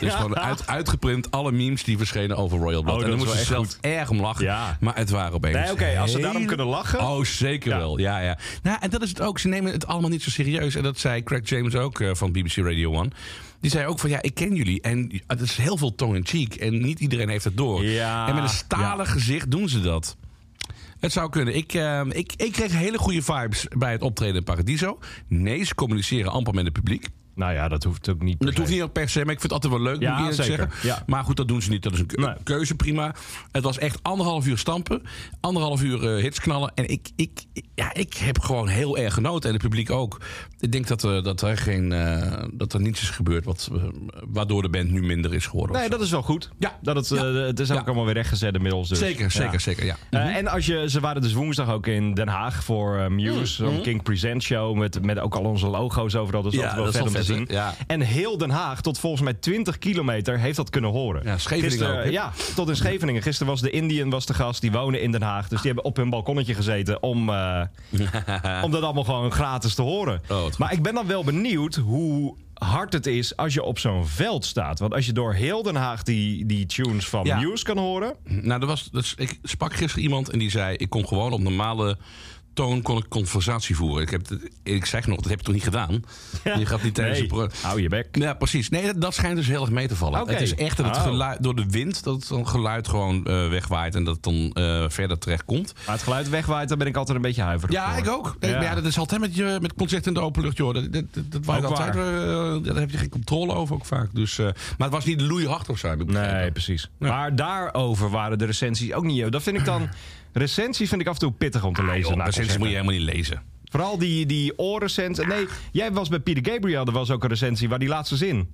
Speaker 2: Dus gewoon uit, uitgeprint alle memes die verschenen over Royal Blood.
Speaker 3: Oh,
Speaker 2: en
Speaker 3: dat
Speaker 2: dan
Speaker 3: is
Speaker 2: moesten ze
Speaker 3: wel
Speaker 2: zelf
Speaker 3: echt
Speaker 2: erg om lachen.
Speaker 3: Ja.
Speaker 2: Maar het waren opeens...
Speaker 3: Nee, oké, als ze
Speaker 2: hele-
Speaker 3: daarom kunnen lachen.
Speaker 2: Oh, zeker
Speaker 3: Ja.
Speaker 2: wel. Ja, ja. Nou, en dat is het ook. Ze nemen het allemaal niet zo serieus. En dat zei Craig James ook eh, van BBC Radio 1. Die zei ook van, ja, ik ken jullie. En eh, het is heel veel tong-in-cheek. En niet iedereen heeft het door.
Speaker 3: Ja.
Speaker 2: En met een stalen gezicht doen ze dat. Het zou kunnen. Ik, eh, ik, ik kreeg hele goede vibes bij het optreden in Paradiso. Nee, ze communiceren amper met het publiek.
Speaker 3: Nou ja, dat hoeft ook niet per
Speaker 2: Dat hoeft
Speaker 3: se.
Speaker 2: niet ook per se, maar ik vind het altijd wel leuk,
Speaker 3: Ja,
Speaker 2: moet ik eerlijk
Speaker 3: zeker.
Speaker 2: zeggen.
Speaker 3: Ja.
Speaker 2: Maar goed, dat doen ze niet. Dat is een keu-
Speaker 3: Nee.
Speaker 2: keuze, prima. Het was echt anderhalf uur stampen, anderhalf uur eh, hits knallen. En ik, ik, ik- ja, ik heb gewoon heel erg genoten en het publiek ook. Ik denk dat, eh, dat, er, geen, eh, dat er niets is gebeurd wat, eh, waardoor de band nu minder is geworden. of
Speaker 3: Nee,
Speaker 2: zo.
Speaker 3: dat is wel goed.
Speaker 2: Ja.
Speaker 3: Dat het,
Speaker 2: Ja.
Speaker 3: eh, het is ook
Speaker 2: Ja.
Speaker 3: allemaal weer rechtgezet inmiddels. Dus.
Speaker 2: Zeker, zeker, zeker, ja.
Speaker 3: Eh, En als je, ze waren dus woensdag ook in Den Haag voor eh, Muse, zo'n King Present Show. Met, met ook al onze logo's overal. dus Dat
Speaker 2: Mhm. Ja,
Speaker 3: is altijd wel
Speaker 2: dat is
Speaker 3: vet om
Speaker 2: wel
Speaker 3: te zien.
Speaker 2: vet, hè? Ja.
Speaker 3: En heel Den Haag, tot volgens mij 20 kilometer, heeft dat kunnen horen.
Speaker 2: Ja, Scheveningen ook, hè?
Speaker 3: Ja, tot in Scheveningen. Gisteren was de Indian was de gast, die woonde in Den Haag. Dus die hebben op hun balkonnetje gezeten om, eh, om dat allemaal gewoon gratis te horen.
Speaker 2: Oh, wat goed.
Speaker 3: maar ik ben dan wel benieuwd hoe hard het is als je op zo'n veld staat. Want als je door heel Den Haag die, die tunes van
Speaker 2: Ja.
Speaker 3: Muse kan horen...
Speaker 2: Nou, dat was, dat is- ik sprak gisteren iemand en die zei... ik kon gewoon op normale toon kon ik conversatie voeren. Ik, heb, het- ik zeg nog, dat heb ik toch niet gedaan? Je gaat niet tijdens
Speaker 3: Nee,
Speaker 2: een pro-
Speaker 3: hou je bek.
Speaker 2: Ja, precies. Nee, dat, dat schijnt dus heel erg mee te vallen.
Speaker 3: Oké.
Speaker 2: Het is echt dat het
Speaker 3: Oh.
Speaker 2: geluid, door de wind, dat het dan geluid gewoon eh, wegwaait... en dat het dan eh, verder terecht komt.
Speaker 3: Maar het geluid wegwaait, daar ben ik altijd een beetje huiverig
Speaker 2: Ja,
Speaker 3: voor.
Speaker 2: ik ook.
Speaker 3: Ja.
Speaker 2: Ja. Maar ja, dat is altijd met, je, met concert in de openlucht, joh. Dat, dat, dat, dat waait
Speaker 3: Ook
Speaker 2: altijd. eh, daar heb je geen controle over ook vaak. Dus, eh, maar het was niet loeihard of zo, heb ik
Speaker 3: Nee,
Speaker 2: begrepen.
Speaker 3: precies. Maar daarover waren de recensies ook niet... Dat vind ik dan... Recensies vind ik af en toe pittig om te lezen.
Speaker 2: Joh,
Speaker 3: nou,
Speaker 2: recensies
Speaker 3: concerten.
Speaker 2: moet je helemaal niet lezen.
Speaker 3: Vooral die, die oorrecens. Nee, jij was bij Peter Gabriel, er was ook een recensie waar die laatste zin.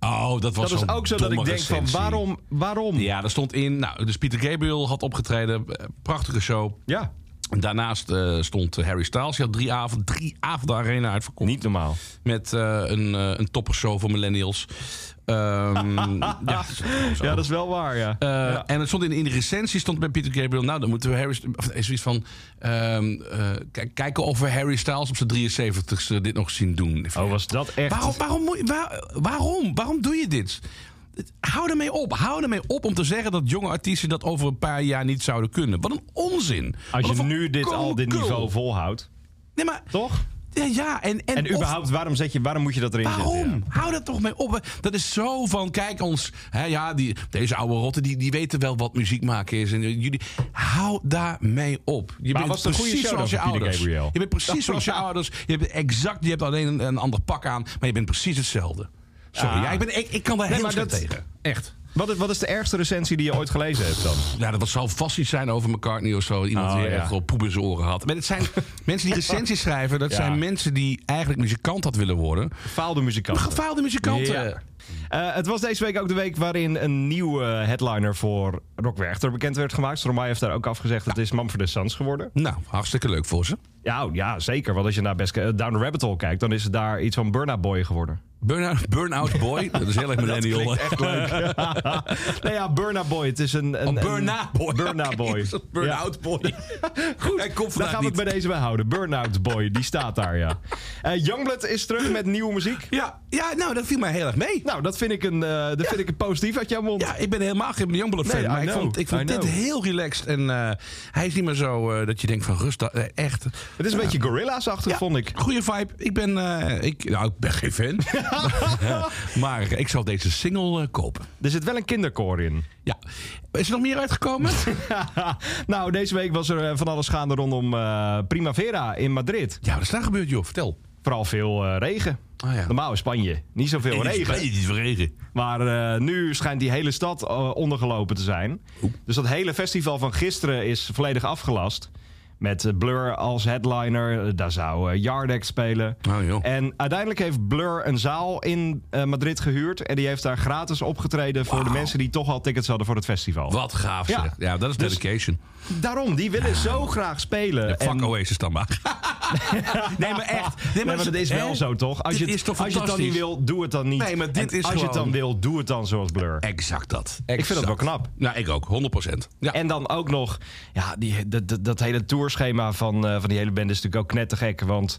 Speaker 2: Oh, dat was
Speaker 3: Dat is
Speaker 2: zo'n
Speaker 3: ook zo dat ik
Speaker 2: domme
Speaker 3: denk van
Speaker 2: recensie.
Speaker 3: waarom, waarom?
Speaker 2: Ja, daar stond in. Nou, dus Peter Gabriel had opgetreden. eh, Prachtige show.
Speaker 3: Ja,
Speaker 2: Daarnaast eh, stond Harry Styles. Je had drie avonden drie avonden arena uitverkocht.
Speaker 3: niet normaal.
Speaker 2: Met eh, een, eh een toppershow voor millennials. Ehm, ja, dat is gewoon zo.
Speaker 3: Ja, dat is wel waar, ja.
Speaker 2: Eh, En het stond in, in de recensie stond bij Peter Gabriel... nou, dan moeten we Harry... St- of, eh, zoiets van... ehm, eh, kijk- kijken of we Harry Styles op zijn 73ste dit nog zien doen.
Speaker 3: Oh, was dat echt...
Speaker 2: Waarom, waarom, moet je- waar- waarom? Waarom doe je dit? Hou ermee op. Hou ermee op om te zeggen dat jonge artiesten dat over een paar jaar niet zouden kunnen. Wat een onzin.
Speaker 3: Als
Speaker 2: Wat
Speaker 3: je
Speaker 2: een
Speaker 3: nu dit, al dit
Speaker 2: volkomen
Speaker 3: niveau
Speaker 2: kul.
Speaker 3: volhoudt,
Speaker 2: Nee, maar...
Speaker 3: toch?
Speaker 2: Ja, ja en, en,
Speaker 3: En
Speaker 2: of-
Speaker 3: überhaupt, waarom, zet je, waarom moet je dat erin zetten?
Speaker 2: Waarom?
Speaker 3: ja?
Speaker 2: Hou dat toch mee op. Dat is zo van, kijk ons. Hè, ja, die, deze oude rotten, die, die weten wel wat muziek maken is. En jullie, hou daar mee op. Je
Speaker 3: was het een goede show
Speaker 2: zoals je
Speaker 3: dan van Peter
Speaker 2: ouders.
Speaker 3: Gabriel?
Speaker 2: Je bent precies zoals je ouders. Je, bent exact, je hebt alleen een, een ander pak aan, maar je bent precies hetzelfde. Sorry,
Speaker 3: Ah.
Speaker 2: ja, ik, ben, ik, ik kan daar heel
Speaker 3: maar
Speaker 2: slecht
Speaker 3: dat-
Speaker 2: tegen. Echt.
Speaker 3: Wat, is- wat is de ergste recensie die je ooit gelezen hebt dan?
Speaker 2: Ja, dat zal vast iets zijn over McCartney of zo. Iemand
Speaker 3: Oh,
Speaker 2: die
Speaker 3: ja.
Speaker 2: echt wel poep in zijn oren had. Maar het zijn mensen die recensies schrijven. Dat
Speaker 3: Ja.
Speaker 2: zijn mensen die eigenlijk muzikant had willen worden.
Speaker 3: Faalde muzikanten.
Speaker 2: Gefaalde muzikanten.
Speaker 3: Ja. Eh, het was deze week ook de week waarin een nieuwe headliner voor Rock Werchter bekend werd gemaakt. Stromae heeft daar ook afgezegd. Het is Mumford de Sons geworden.
Speaker 2: Nou, hartstikke leuk voor ze.
Speaker 3: Ja, oh, ja, zeker. Want als je naar best, eh, Down the Rabbit Hole kijkt, dan is het daar iets van Burna Boy geworden.
Speaker 2: Burnout, burnout Boy. Dat is heel erg millennial.
Speaker 3: nou ja, Burna Boy. Het is een... een
Speaker 2: Oh, Burnout Boy.
Speaker 3: een- Burna
Speaker 2: Oké,
Speaker 3: Boy.
Speaker 2: is dat Burnout Boy. Goed, Hij komt
Speaker 3: Daar
Speaker 2: vandaag
Speaker 3: gaan we
Speaker 2: niet.
Speaker 3: het bij deze bij houden. Burnout Boy, die staat daar, ja. Eh Youngblood is terug met nieuwe muziek.
Speaker 2: Ja, ja, nou, dat viel mij heel erg mee.
Speaker 3: Nou, dat vind ik een, eh, dat vind ik een positief uit jouw mond.
Speaker 2: Ja, ik ben helemaal geen Youngblood fan.
Speaker 3: Nee, I
Speaker 2: maar ik
Speaker 3: know,
Speaker 2: vond, ik
Speaker 3: I
Speaker 2: vond dit
Speaker 3: know.
Speaker 2: heel relaxed. En eh, hij is niet meer zo eh, dat je denkt van rust. eh, echt.
Speaker 3: Het is een beetje Gorilla's-achtig,
Speaker 2: Ja,
Speaker 3: vond ik.
Speaker 2: Goede vibe. Ik ben, eh, ik, nou, ik ben geen fan. maar ik zal deze single eh, kopen.
Speaker 3: Er zit wel een kinderkoor in.
Speaker 2: Ja. Is er nog meer uitgekomen?
Speaker 3: nou, deze week was er eh, van alles gaande rondom eh, Primavera in Madrid.
Speaker 2: ja, wat is daar gebeurd, joh? Vertel.
Speaker 3: Vooral veel eh, regen.
Speaker 2: Ah, ja.
Speaker 3: Normaal in Spanje niet zoveel regen.
Speaker 2: Het is regen.
Speaker 3: Maar eh, nu schijnt die hele stad eh, ondergelopen te zijn. Dus dat hele festival van gisteren is volledig afgelast. Met eh, Blur als headliner. Eh, Daar zou eh, Yardex spelen.
Speaker 2: Oh, joh.
Speaker 3: En uiteindelijk heeft Blur een zaal in eh, Madrid gehuurd. En die heeft daar gratis opgetreden voor de
Speaker 2: Wauw.
Speaker 3: mensen die toch al tickets hadden voor het festival.
Speaker 2: Wat gaaf,
Speaker 3: Ja.
Speaker 2: zeg. Ja, dat is
Speaker 3: Dus-
Speaker 2: dedication.
Speaker 3: Daarom, die willen zo graag spelen.
Speaker 2: Ja, fuck
Speaker 3: En-
Speaker 2: Oasis dan maar. nee, maar echt. Nee,
Speaker 3: Nee, maar dat is wel
Speaker 2: hè?
Speaker 3: zo, toch? Als,
Speaker 2: Dit
Speaker 3: je het,
Speaker 2: is toch
Speaker 3: als je het dan niet
Speaker 2: fantastisch?
Speaker 3: wil, doe het dan niet.
Speaker 2: Nee, maar dit
Speaker 3: En
Speaker 2: is
Speaker 3: als je het dan
Speaker 2: gewoon-
Speaker 3: wil, doe het dan zoals Blur.
Speaker 2: Exact dat.
Speaker 3: Ik vind dat wel
Speaker 2: Exact.
Speaker 3: knap.
Speaker 2: Nou, ik ook. 100%. Ja.
Speaker 3: En dan ook nog, ja, die, dat, dat, dat hele tourschema van, eh, van die hele band is natuurlijk ook knettergek. Want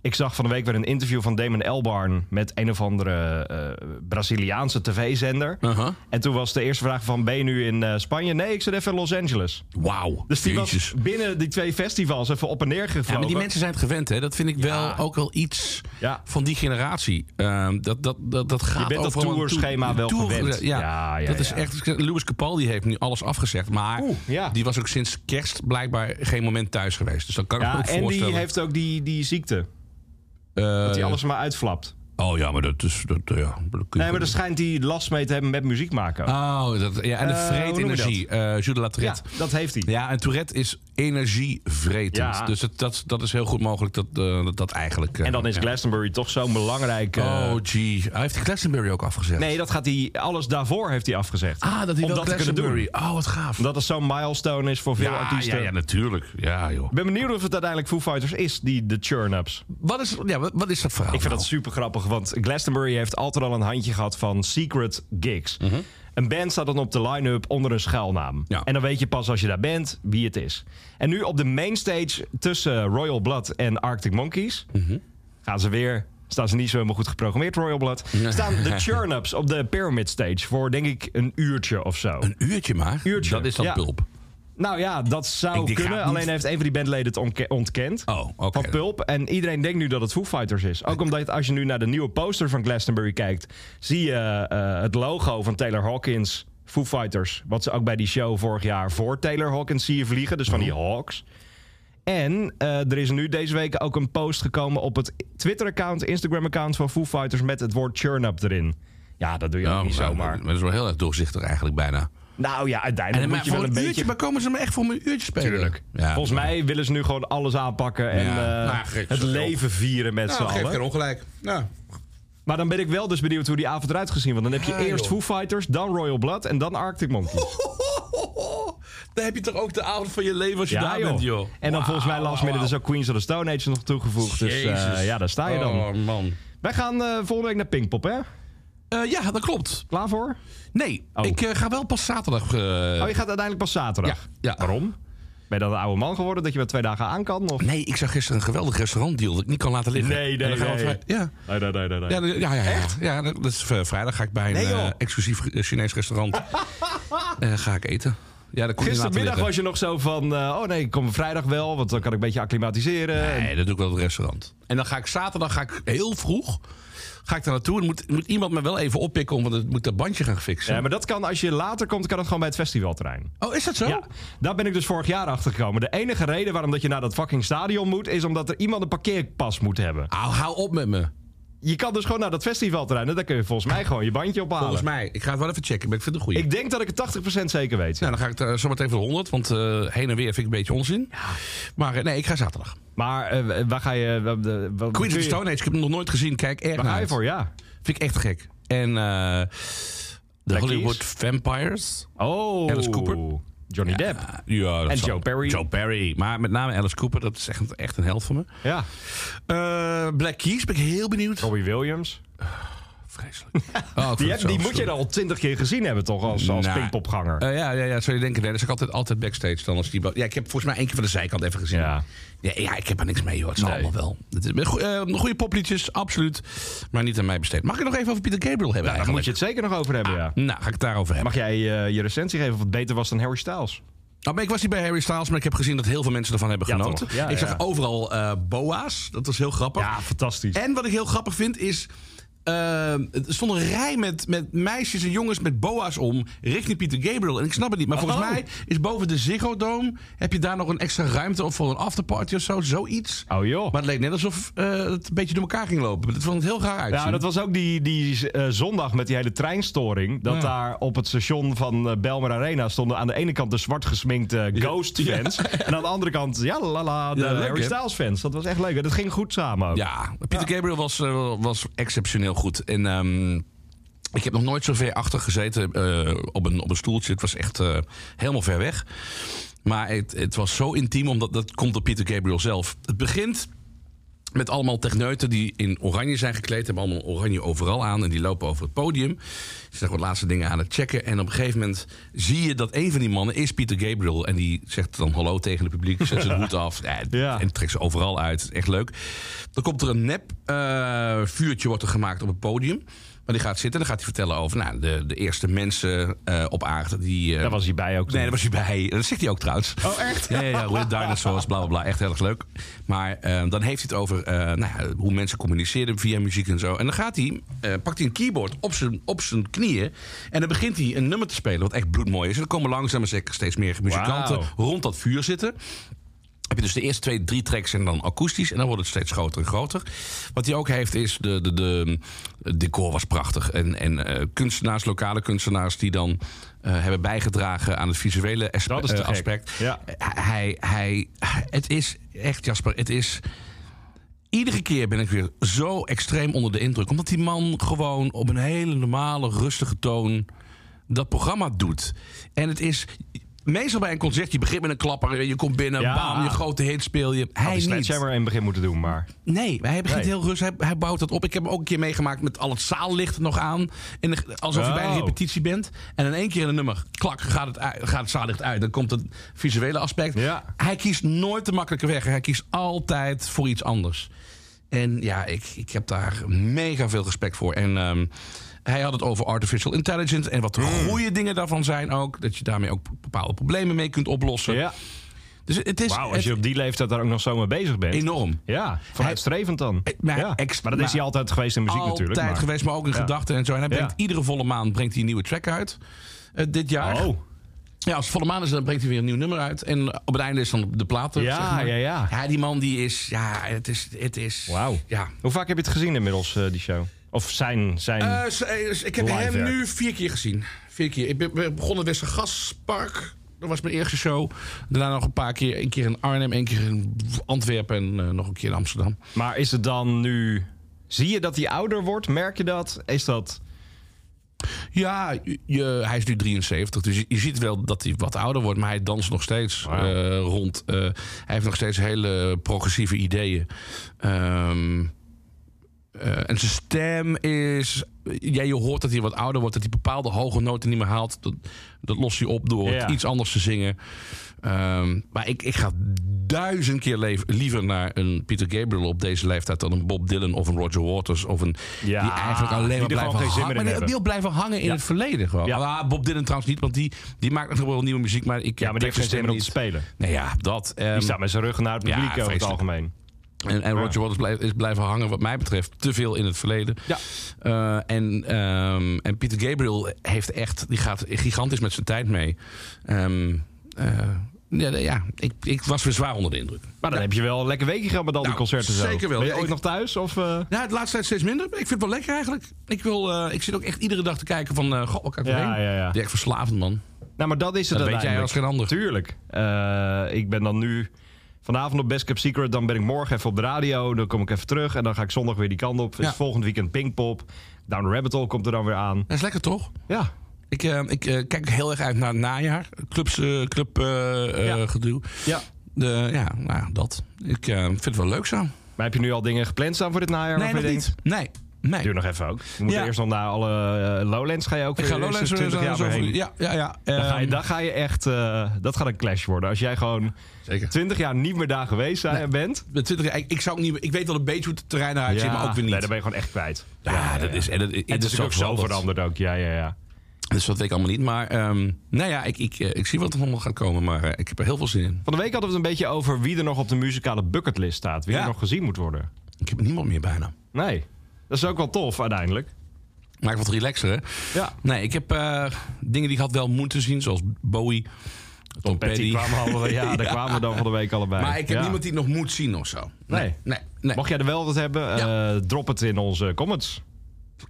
Speaker 3: ik zag van de week weer een interview van Damon Elbarn... met een of andere eh, Braziliaanse tv-zender.
Speaker 2: Uh-huh.
Speaker 3: En toen was de eerste vraag van, ben je nu in eh, Spanje? Nee, ik zit even in Los Angeles.
Speaker 2: Wauw.
Speaker 3: Dus die
Speaker 2: Jezus.
Speaker 3: was binnen die twee festivals even op en neer gevlogen.
Speaker 2: Ja, maar die mensen zijn het gewend, hè? Dat vind ik wel ook wel iets
Speaker 3: Ja.
Speaker 2: van die generatie. Ehm, dat, dat, dat, dat gaat
Speaker 3: bent dat
Speaker 2: overal naartoe.
Speaker 3: tourschema wel gewend.
Speaker 2: Ja,
Speaker 3: Ja, ja,
Speaker 2: dat is
Speaker 3: ja.
Speaker 2: echt... Louis Capaldi heeft nu alles afgezegd. Maar
Speaker 3: Oeh, ja.
Speaker 2: die was ook sinds kerst blijkbaar geen moment thuis geweest. Dus dan kan ik me
Speaker 3: Ja,
Speaker 2: ook
Speaker 3: en die
Speaker 2: voorstellen...
Speaker 3: heeft ook die, die ziekte.
Speaker 2: eh,
Speaker 3: Dat hij alles maar uitflapt.
Speaker 2: Oh ja, maar dat is... Dat, ja, dat kun je
Speaker 3: Nee, maar daar schijnt hij last mee te hebben met muziek maken. ook.
Speaker 2: Oh, dat, ja, en de
Speaker 3: Eh, hoe noem je
Speaker 2: vreedenergie. eh Jules de la
Speaker 3: ja,
Speaker 2: Tourette.
Speaker 3: dat heeft hij.
Speaker 2: Ja. en Tourette is energievretend.
Speaker 3: Ja.
Speaker 2: Dus dat, dat, dat is heel goed mogelijk dat eh, dat, dat eigenlijk... eh,
Speaker 3: En dan is
Speaker 2: ja.
Speaker 3: Glastonbury toch zo'n belangrijk... eh,
Speaker 2: Oh, gee. Hij heeft die Glastonbury ook afgezet.
Speaker 3: Nee, dat gaat hij, alles daarvoor heeft hij afgezegd.
Speaker 2: Ah, dat hij
Speaker 3: Om
Speaker 2: wel
Speaker 3: dat te kunnen
Speaker 2: Glastonbury. Oh, wat gaaf.
Speaker 3: Dat is zo'n milestone is voor veel
Speaker 2: ja,
Speaker 3: artiesten.
Speaker 2: ja, ja, natuurlijk. Ja, joh.
Speaker 3: Ik ben benieuwd of het uiteindelijk Foo Fighters is, die de churn-ups.
Speaker 2: Wat is, ja, wat, wat is dat verhaal?
Speaker 3: Ik vind dat
Speaker 2: nou?
Speaker 3: super grappig, want Glastonbury heeft altijd al een handje gehad van secret gigs. Een band staat dan op de line-up onder een schuilnaam.
Speaker 2: Ja.
Speaker 3: En dan weet je pas als je daar bent wie het is. En nu op de mainstage tussen Royal Blood en Arctic Monkeys gaan ze weer. Staan ze niet zo helemaal goed geprogrammeerd, Royal Blood. Staan de churn-ups op de Pyramid Stage voor, denk ik, een uurtje of zo.
Speaker 2: Een uurtje maar.
Speaker 3: Uurtje.
Speaker 2: Dat is dan
Speaker 3: Ja.
Speaker 2: pulp.
Speaker 3: Nou ja, dat
Speaker 2: Ik
Speaker 3: zou
Speaker 2: denk,
Speaker 3: kunnen.
Speaker 2: gaat niet.
Speaker 3: Alleen heeft een van die bandleden het onke- ontkend.
Speaker 2: Oh, oké.
Speaker 3: Van Pulp. En iedereen denkt nu dat het Foo Fighters is. Ook omdat als je nu naar de nieuwe poster van Glastonbury kijkt... zie je eh, het logo van Taylor Hawkins, Foo Fighters. Wat ze ook bij die show vorig jaar voor Taylor Hawkins zie je vliegen. Dus van die
Speaker 2: Oh.
Speaker 3: Hawks. En eh, er is nu deze week ook een post gekomen op het Twitter-account... Instagram-account van Foo Fighters met het woord churn-up erin. Ja, dat doe je ook
Speaker 2: Oh,
Speaker 3: niet
Speaker 2: nou,
Speaker 3: zomaar.
Speaker 2: Maar dat is wel heel erg doorzichtig eigenlijk bijna.
Speaker 3: Nou ja,
Speaker 2: En
Speaker 3: uiteindelijk
Speaker 2: maar
Speaker 3: moet je
Speaker 2: voor
Speaker 3: wel een
Speaker 2: een uurtje,
Speaker 3: beetje...
Speaker 2: maar komen ze me echt voor een uurtje spelen?
Speaker 3: Tuurlijk.
Speaker 2: Ja,
Speaker 3: Volgens mij willen ze nu gewoon alles aanpakken en
Speaker 2: Ja.
Speaker 3: eh,
Speaker 2: Nou, gek,
Speaker 3: het
Speaker 2: zo.
Speaker 3: leven vieren met
Speaker 2: nou,
Speaker 3: z'n
Speaker 2: geef geen
Speaker 3: allen.
Speaker 2: ongelijk. Nou. Ja.
Speaker 3: Maar dan ben ik wel dus benieuwd hoe die avond eruit gezien. Want dan heb je
Speaker 2: Ja,
Speaker 3: eerst
Speaker 2: joh.
Speaker 3: Foo Fighters, dan Royal Blood en dan Arctic Monkeys.
Speaker 2: Dan heb je toch ook de avond van je leven als je daar
Speaker 3: joh.
Speaker 2: bent, joh.
Speaker 3: En dan volgens mij last midden dus ook Queens of the Stone Age nog toegevoegd. Dus eh,
Speaker 2: Jezus.
Speaker 3: ja, daar sta je dan.
Speaker 2: Oh, man.
Speaker 3: Wij gaan eh, volgende week naar Pinkpop, hè?
Speaker 2: Eh, ja, dat klopt.
Speaker 3: Klaar voor?
Speaker 2: Nee,
Speaker 3: Oh.
Speaker 2: ik eh, ga wel pas zaterdag. eh,
Speaker 3: Oh, je gaat uiteindelijk pas zaterdag.
Speaker 2: Ja, ja.
Speaker 3: Waarom? Ben je dan een oude man geworden dat je maar twee dagen aan kan? Of?
Speaker 2: Nee, ik zag gisteren een geweldig restaurantdeal dat ik niet kan laten liggen.
Speaker 3: Nee, nee,
Speaker 2: En dan gaan we
Speaker 3: nee.
Speaker 2: vrij- Ja.
Speaker 3: Nee, nee, nee, nee. nee.
Speaker 2: Ja, ja, ja, ja, ja. Ja, dat is eh, vrijdag ga ik bij een
Speaker 3: Nee, joh.
Speaker 2: eh, exclusief eh, Chinees restaurant eh, ga ik eten. Ja, dat kon je niet laten
Speaker 3: Gistermiddag
Speaker 2: liggen.
Speaker 3: was je nog zo van, eh, oh nee, ik kom vrijdag wel, want dan kan ik een beetje acclimatiseren.
Speaker 2: Nee, dat doe ik wel in het restaurant. En dan ga ik zaterdag ga ik heel vroeg ga ik daar naartoe. En moet, moet iemand me wel even oppikken, want het moet dat bandje gaan fixen.
Speaker 3: Ja, maar dat kan, als je later komt, kan dat gewoon bij het festivalterrein.
Speaker 2: Oh, is dat zo?
Speaker 3: Ja, daar ben ik dus vorig jaar achter gekomen. De enige reden waarom dat je naar dat fucking stadion moet, is omdat er iemand een parkeerpas moet hebben.
Speaker 2: Au, hou op met me.
Speaker 3: Je kan dus gewoon naar dat festivalterrein en daar kun je volgens mij gewoon je bandje ophalen.
Speaker 2: Volgens mij. Ik ga het wel even checken, maar ik vind het een goede.
Speaker 3: Ik denk dat ik het 80% zeker weet.
Speaker 2: Nou, dan ga ik er zometeen voor 100, want eh, heen en weer vind ik een beetje onzin. Maar eh, nee, ik ga zaterdag.
Speaker 3: Maar eh, waar ga je... wa- de- wat-
Speaker 2: Queens
Speaker 3: kun
Speaker 2: of
Speaker 3: je-
Speaker 2: the Stone Age, ik heb hem nog nooit gezien. Kijk, erg
Speaker 3: Waar ga
Speaker 2: naar
Speaker 3: je
Speaker 2: uit.
Speaker 3: voor, ja.
Speaker 2: Vind ik echt gek. En eh de
Speaker 3: Black
Speaker 2: Hollywood
Speaker 3: Keys?
Speaker 2: Vampires.
Speaker 3: Oh.
Speaker 2: Alice Cooper.
Speaker 3: Johnny Depp.
Speaker 2: Ah, ja, dat
Speaker 3: En
Speaker 2: zal-
Speaker 3: Joe Perry.
Speaker 2: Joe Perry. Maar met name Alice Cooper, dat is echt, echt een held van me.
Speaker 3: Ja.
Speaker 2: Eh, Black Keys ben ik heel benieuwd.
Speaker 3: Robbie Williams.
Speaker 2: Oh, Vreselijk. Oh, ik vind
Speaker 3: Die,
Speaker 2: het
Speaker 3: heb,
Speaker 2: zo
Speaker 3: die moet je
Speaker 2: afschuwelijk.
Speaker 3: dan al twintig keer gezien hebben, toch? Als, als
Speaker 2: Nou,
Speaker 3: Pinkpopganger.
Speaker 2: eh, ja, ja, ja, zou je denken. Nee, dat is ook altijd, altijd backstage dan. Als die, ba- ja, ik heb volgens mij één keer van de zijkant even gezien.
Speaker 3: Ja.
Speaker 2: Ja, ja, ik heb er niks mee, hoor. Het zal
Speaker 3: Nee.
Speaker 2: allemaal wel. Het is, goe- eh, goede popliedjes, absoluut. Maar niet aan mij besteed. Mag ik het nog even over Peter Gabriel hebben?
Speaker 3: daar Nou, moet
Speaker 2: eigenlijk?
Speaker 3: je het zeker nog over hebben, ja.
Speaker 2: Nou, ga ik het daarover hebben.
Speaker 3: Mag jij eh, je recensie geven of het beter was dan Harry Styles?
Speaker 2: Nou, maar ik was niet bij Harry Styles, maar ik heb gezien dat heel veel mensen ervan hebben
Speaker 3: Ja,
Speaker 2: genoten.
Speaker 3: toch? Ja,
Speaker 2: ik zag
Speaker 3: ja.
Speaker 2: overal eh, boa's. Dat was heel grappig.
Speaker 3: fantastisch.
Speaker 2: En wat ik heel grappig vind is. eh, er stond een rij met, met meisjes en jongens met boa's om richting Peter Gabriel. En ik snap het niet. Maar volgens
Speaker 3: Oh.
Speaker 2: mij is boven de Ziggo Dome... heb je daar nog een extra ruimte of voor een afterparty of zo. Zoiets.
Speaker 3: Oh joh.
Speaker 2: Maar het leek net alsof eh, het een beetje door elkaar ging lopen. Dat vond het heel raar uit.
Speaker 3: ja, dat was ook die, die eh, zondag met die hele treinstoring. Dat daar op het station van eh Belmer Arena stonden aan de ene kant de zwart gesminkte Ghost fans. En aan de andere kant, ja, la la, de
Speaker 2: Ja, leuk,
Speaker 3: Harry
Speaker 2: hè?
Speaker 3: Styles fans. Dat was echt leuk. En dat ging goed samen. ook.
Speaker 2: Ja, Peter Gabriel was, eh, was exceptioneel goed. En ehm, ik heb nog nooit zo ver achter gezeten eh, op, een, op een stoeltje. Het was echt eh, helemaal ver weg. Maar het, het was zo intiem, omdat dat komt door Peter Gabriel zelf. Het begint met allemaal techneuten die in oranje zijn gekleed. Hebben allemaal oranje overal aan en die lopen over het podium. Ze zijn wat laatste dingen aan het checken. En op een gegeven moment zie je dat een van die mannen is Peter Gabriel. En die zegt dan hallo tegen het publiek, zet zijn hoed af. Ja,
Speaker 3: Ja.
Speaker 2: En trekt ze overal uit. Echt leuk. Dan komt er een nep eh, vuurtje wordt er gemaakt op het podium. Maar die gaat zitten en dan gaat hij vertellen over nou, de, de eerste mensen eh, op aarde. Die, eh,
Speaker 3: Daar was hij bij ook.
Speaker 2: Nee, daar was hij bij. Dat zegt hij ook trouwens.
Speaker 3: Oh, echt?
Speaker 2: Ja, ja, ja. With dinosaurs, bla bla bla. Echt heel erg leuk. Maar eh, dan heeft hij het over eh, nou, ja, hoe mensen communiceren via muziek en zo. En dan gaat hij, eh, pakt hij een keyboard op zijn, op zijn knieën. En dan begint hij een nummer te spelen, wat echt bloedmooi is. En dan komen langzaam maar zeker steeds meer muzikanten
Speaker 3: Wauw.
Speaker 2: rond dat vuur zitten. Heb je dus de eerste twee, drie tracks en dan akoestisch. En dan wordt het steeds groter en groter. Wat hij ook heeft is, de, de, de, het decor was prachtig. En, en eh, kunstenaars, lokale kunstenaars die dan eh, hebben bijgedragen aan het visuele aspe-
Speaker 3: Dat is te
Speaker 2: eh,
Speaker 3: gek.
Speaker 2: aspect.
Speaker 3: Ja.
Speaker 2: Hij, hij, het is echt Jasper, het is... Iedere keer ben ik weer zo extreem onder de indruk. Omdat die man gewoon op een hele normale, rustige toon dat programma doet. En het is... Meestal bij een concert, je begint met een klapper, je komt binnen,
Speaker 3: Ja.
Speaker 2: bam, je grote hit speel je. Hij
Speaker 3: Had die
Speaker 2: niet.
Speaker 3: Sledgehammer in het begin moeten doen, maar...
Speaker 2: Nee, hij begint
Speaker 3: Nee.
Speaker 2: heel rustig. Hij, hij bouwt dat op. Ik heb hem ook een keer meegemaakt met al het zaallicht nog aan. En de- alsof je bij een
Speaker 3: Oh.
Speaker 2: repetitie bent. En in één keer in een nummer, klak, gaat het, uit- gaat het zaallicht uit. Dan komt het visuele aspect.
Speaker 3: Ja.
Speaker 2: Hij kiest nooit de makkelijke weg. Hij kiest altijd voor iets anders. En ja, ik, ik heb daar mega veel respect voor. En ehm, hij had het over artificial intelligence. En wat
Speaker 3: Mm.
Speaker 2: de goede dingen daarvan zijn ook. Dat je daarmee ook bepaalde problemen mee kunt oplossen.
Speaker 3: Ja.
Speaker 2: Dus het is
Speaker 3: Wauw, als
Speaker 2: het-
Speaker 3: je op die leeftijd daar ook nog zo mee bezig bent.
Speaker 2: enorm.
Speaker 3: Ja, vooruitstrevend dan.
Speaker 2: maar-
Speaker 3: ja.
Speaker 2: ex-
Speaker 3: maar dat is
Speaker 2: maar-
Speaker 3: hij altijd geweest in muziek natuurlijk.
Speaker 2: altijd
Speaker 3: maar-
Speaker 2: geweest, maar ook in
Speaker 3: Ja.
Speaker 2: gedachten en zo. En hij brengt
Speaker 3: Ja.
Speaker 2: iedere volle maand brengt hij een nieuwe track uit. eh, dit jaar.
Speaker 3: Oh,
Speaker 2: Ja, als het volle maan is, dan brengt hij weer een nieuw nummer uit. En op het einde is dan de platen.
Speaker 3: Ja,
Speaker 2: zeg maar.
Speaker 3: ja, ja.
Speaker 2: Ja, die man die is... Ja, het is... Het is
Speaker 3: Wauw. Hm.
Speaker 2: Ja.
Speaker 3: hoe vaak heb je het gezien inmiddels, eh, die show? Of zijn. zijn...
Speaker 2: Eh, s- eh, s- ik heb
Speaker 3: Live
Speaker 2: hem
Speaker 3: werk.
Speaker 2: nu vier keer gezien. Vier keer. Ik ben, we begonnen in Westergaspark. Dat was mijn eerste show. Daarna nog een paar keer. Een keer in Arnhem, een keer in Antwerpen en eh, nog een keer in Amsterdam.
Speaker 3: Maar is het dan nu. Zie je dat hij ouder wordt? Merk je dat? Is dat.
Speaker 2: Ja, je, hij is nu 73, dus je, je ziet wel dat hij wat ouder wordt, maar hij danst nog steeds
Speaker 3: Oh
Speaker 2: eh, rond. Eh, hij heeft nog steeds hele progressieve ideeën. Ehm, eh, en zijn stem is. Ja, je hoort dat hij wat ouder wordt, dat hij bepaalde hoge noten niet meer haalt. Dat, dat lost hij op door
Speaker 3: Ja.
Speaker 2: het iets anders te zingen. Ehm, maar ik, ik ga duizend keer leef- liever naar een Peter Gabriel op deze leeftijd dan een Bob Dylan of een Roger Waters of een
Speaker 3: Ja,
Speaker 2: die eigenlijk alleen maar
Speaker 3: die er gewoon
Speaker 2: blijven
Speaker 3: geen zin meer
Speaker 2: hangen.
Speaker 3: in
Speaker 2: Maar die,
Speaker 3: hebben.
Speaker 2: die ook blijven hangen in het verleden gewoon.
Speaker 3: Ja.
Speaker 2: Ah, Bob Dylan trouwens niet, want die, die maakt nog wel nieuwe muziek, maar ik
Speaker 3: Ja, maar die heeft geen zin
Speaker 2: stem
Speaker 3: meer om te spelen.
Speaker 2: Nee, ja, dat. ehm,
Speaker 3: Die staat met zijn rug naar het
Speaker 2: ja,
Speaker 3: publiek over het
Speaker 2: vreselijk.
Speaker 3: algemeen.
Speaker 2: en, en Roger Waters blijft, is blijven hangen, wat mij betreft, te veel in het verleden.
Speaker 3: Ja.
Speaker 2: Eh, en, ehm, en Peter Gabriel heeft echt, die gaat gigantisch met zijn tijd mee. Ehm, eh, ja, ja ik, ik was weer zwaar onder de indruk.
Speaker 3: Maar dan heb je wel een lekker weekje gehad met al die
Speaker 2: Nou,
Speaker 3: concerten zo.
Speaker 2: zeker wel.
Speaker 3: Ben je
Speaker 2: Ja,
Speaker 3: ooit
Speaker 2: ik-
Speaker 3: nog thuis? Of, eh,
Speaker 2: Nou, het laatste tijd steeds minder. maar Ik vind het wel lekker eigenlijk. Ik, wil, eh, ik zit ook echt iedere dag te kijken van... eh goh, wat kan ik
Speaker 3: Ja,
Speaker 2: erheen?
Speaker 3: ja, ja.
Speaker 2: Die echt verslavend, man.
Speaker 3: Nou, maar dat is het
Speaker 2: Dat weet jij als geen ander.
Speaker 3: Tuurlijk. Eh, ik ben dan nu vanavond op Best Kept Secret. Dan ben ik morgen even op de radio. Dan kom ik even terug. En dan ga ik zondag weer die kant op.
Speaker 2: Ja.
Speaker 3: Is volgend weekend Pinkpop. Down the Rabbit Hole komt er dan weer aan.
Speaker 2: Dat is lekker, toch?
Speaker 3: Ja.
Speaker 2: Ik, eh, ik eh, kijk heel erg uit naar het najaar. Clubs, eh, club eh, eh,
Speaker 3: Ja.
Speaker 2: gedoe.
Speaker 3: ja.
Speaker 2: De, ja, nou, dat. Ik eh, vind het wel leuk zo.
Speaker 3: Maar heb je nu al dingen gepland staan voor dit najaar?
Speaker 2: nee,
Speaker 3: waarvan
Speaker 2: nog
Speaker 3: je
Speaker 2: niet.
Speaker 3: denkt,
Speaker 2: Nee, nee.
Speaker 3: Duur nog even ook. We moeten
Speaker 2: Ja.
Speaker 3: eerst nog naar alle eh, Lowlands. Ga je ook
Speaker 2: Ik
Speaker 3: weer
Speaker 2: ga Lowlands
Speaker 3: eerst
Speaker 2: weer
Speaker 3: 20 jaar
Speaker 2: zo
Speaker 3: weer
Speaker 2: over-
Speaker 3: heen.
Speaker 2: Ja, ja, ja.
Speaker 3: Dan ga, je,
Speaker 2: ehm,
Speaker 3: dan ga je echt... eh, dat gaat een clash worden. Als jij gewoon
Speaker 2: Zeker.
Speaker 3: 20 jaar niet meer daar geweest zijn, bent...
Speaker 2: Met 20 jaar, ik, ik zou ook niet, ik weet wel een beetje hoe het terrein eruit ziet,
Speaker 3: Ja.
Speaker 2: maar ook weer niet.
Speaker 3: Nee, dan ben je gewoon echt kwijt.
Speaker 2: ja, dat is. En dat, en
Speaker 3: Het
Speaker 2: dat
Speaker 3: is ook zo
Speaker 2: veranderd.
Speaker 3: veranderd ook. Ja, ja, ja.
Speaker 2: Dus dat weet ik allemaal niet. Maar ehm, nou ja, ik, ik, eh, ik zie wat er allemaal gaat komen. Maar eh, ik heb er heel veel zin in.
Speaker 3: Van de week hadden we het een beetje over wie er nog op de muzikale bucketlist staat. Wie
Speaker 2: Ja.
Speaker 3: er nog gezien moet worden.
Speaker 2: Ik heb niemand meer bijna.
Speaker 3: Nee. Dat is ook wel tof uiteindelijk.
Speaker 2: Maak wat relaxer, hè?
Speaker 3: Ja.
Speaker 2: Nee, ik heb eh, dingen die ik had wel moeten zien. Zoals Bowie, Tom, Petty.
Speaker 3: Petty kwamen allebei. Ja, daar kwamen we dan van de week allebei.
Speaker 2: Maar ik heb
Speaker 3: Ja.
Speaker 2: niemand die ik nog moet zien of zo.
Speaker 3: Nee.
Speaker 2: Nee. nee.
Speaker 3: Mocht jij er wel wat hebben, eh, drop het in onze comments.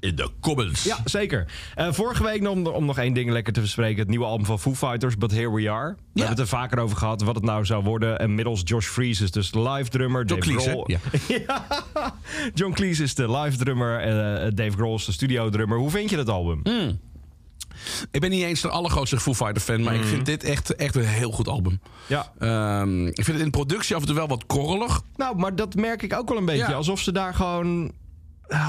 Speaker 2: In de comments.
Speaker 3: Ja, zeker. Eh, vorige week, om, om nog één ding lekker te bespreken... het nieuwe album van Foo Fighters, But Here We Are. We hebben het er vaker over gehad, wat het nou zou worden. En middels Josh Fries is dus de live drummer.
Speaker 2: John
Speaker 3: Dave
Speaker 2: Cleese, hè?
Speaker 3: Grohl-
Speaker 2: Ja.
Speaker 3: Ja. John Cleese is de live drummer. eh, Dave Grohl is de studio drummer. Hoe vind je dat album?
Speaker 2: Ik ben niet eens de allergrootste Foo Fighter fan. Maar
Speaker 3: Mm.
Speaker 2: ik vind dit echt, echt een heel goed album.
Speaker 3: Ja.
Speaker 2: Ehm, ik vind het in productie af en toe wel wat korrelig.
Speaker 3: Nou, maar dat merk ik ook wel een beetje.
Speaker 2: Ja.
Speaker 3: Alsof ze daar gewoon... eh,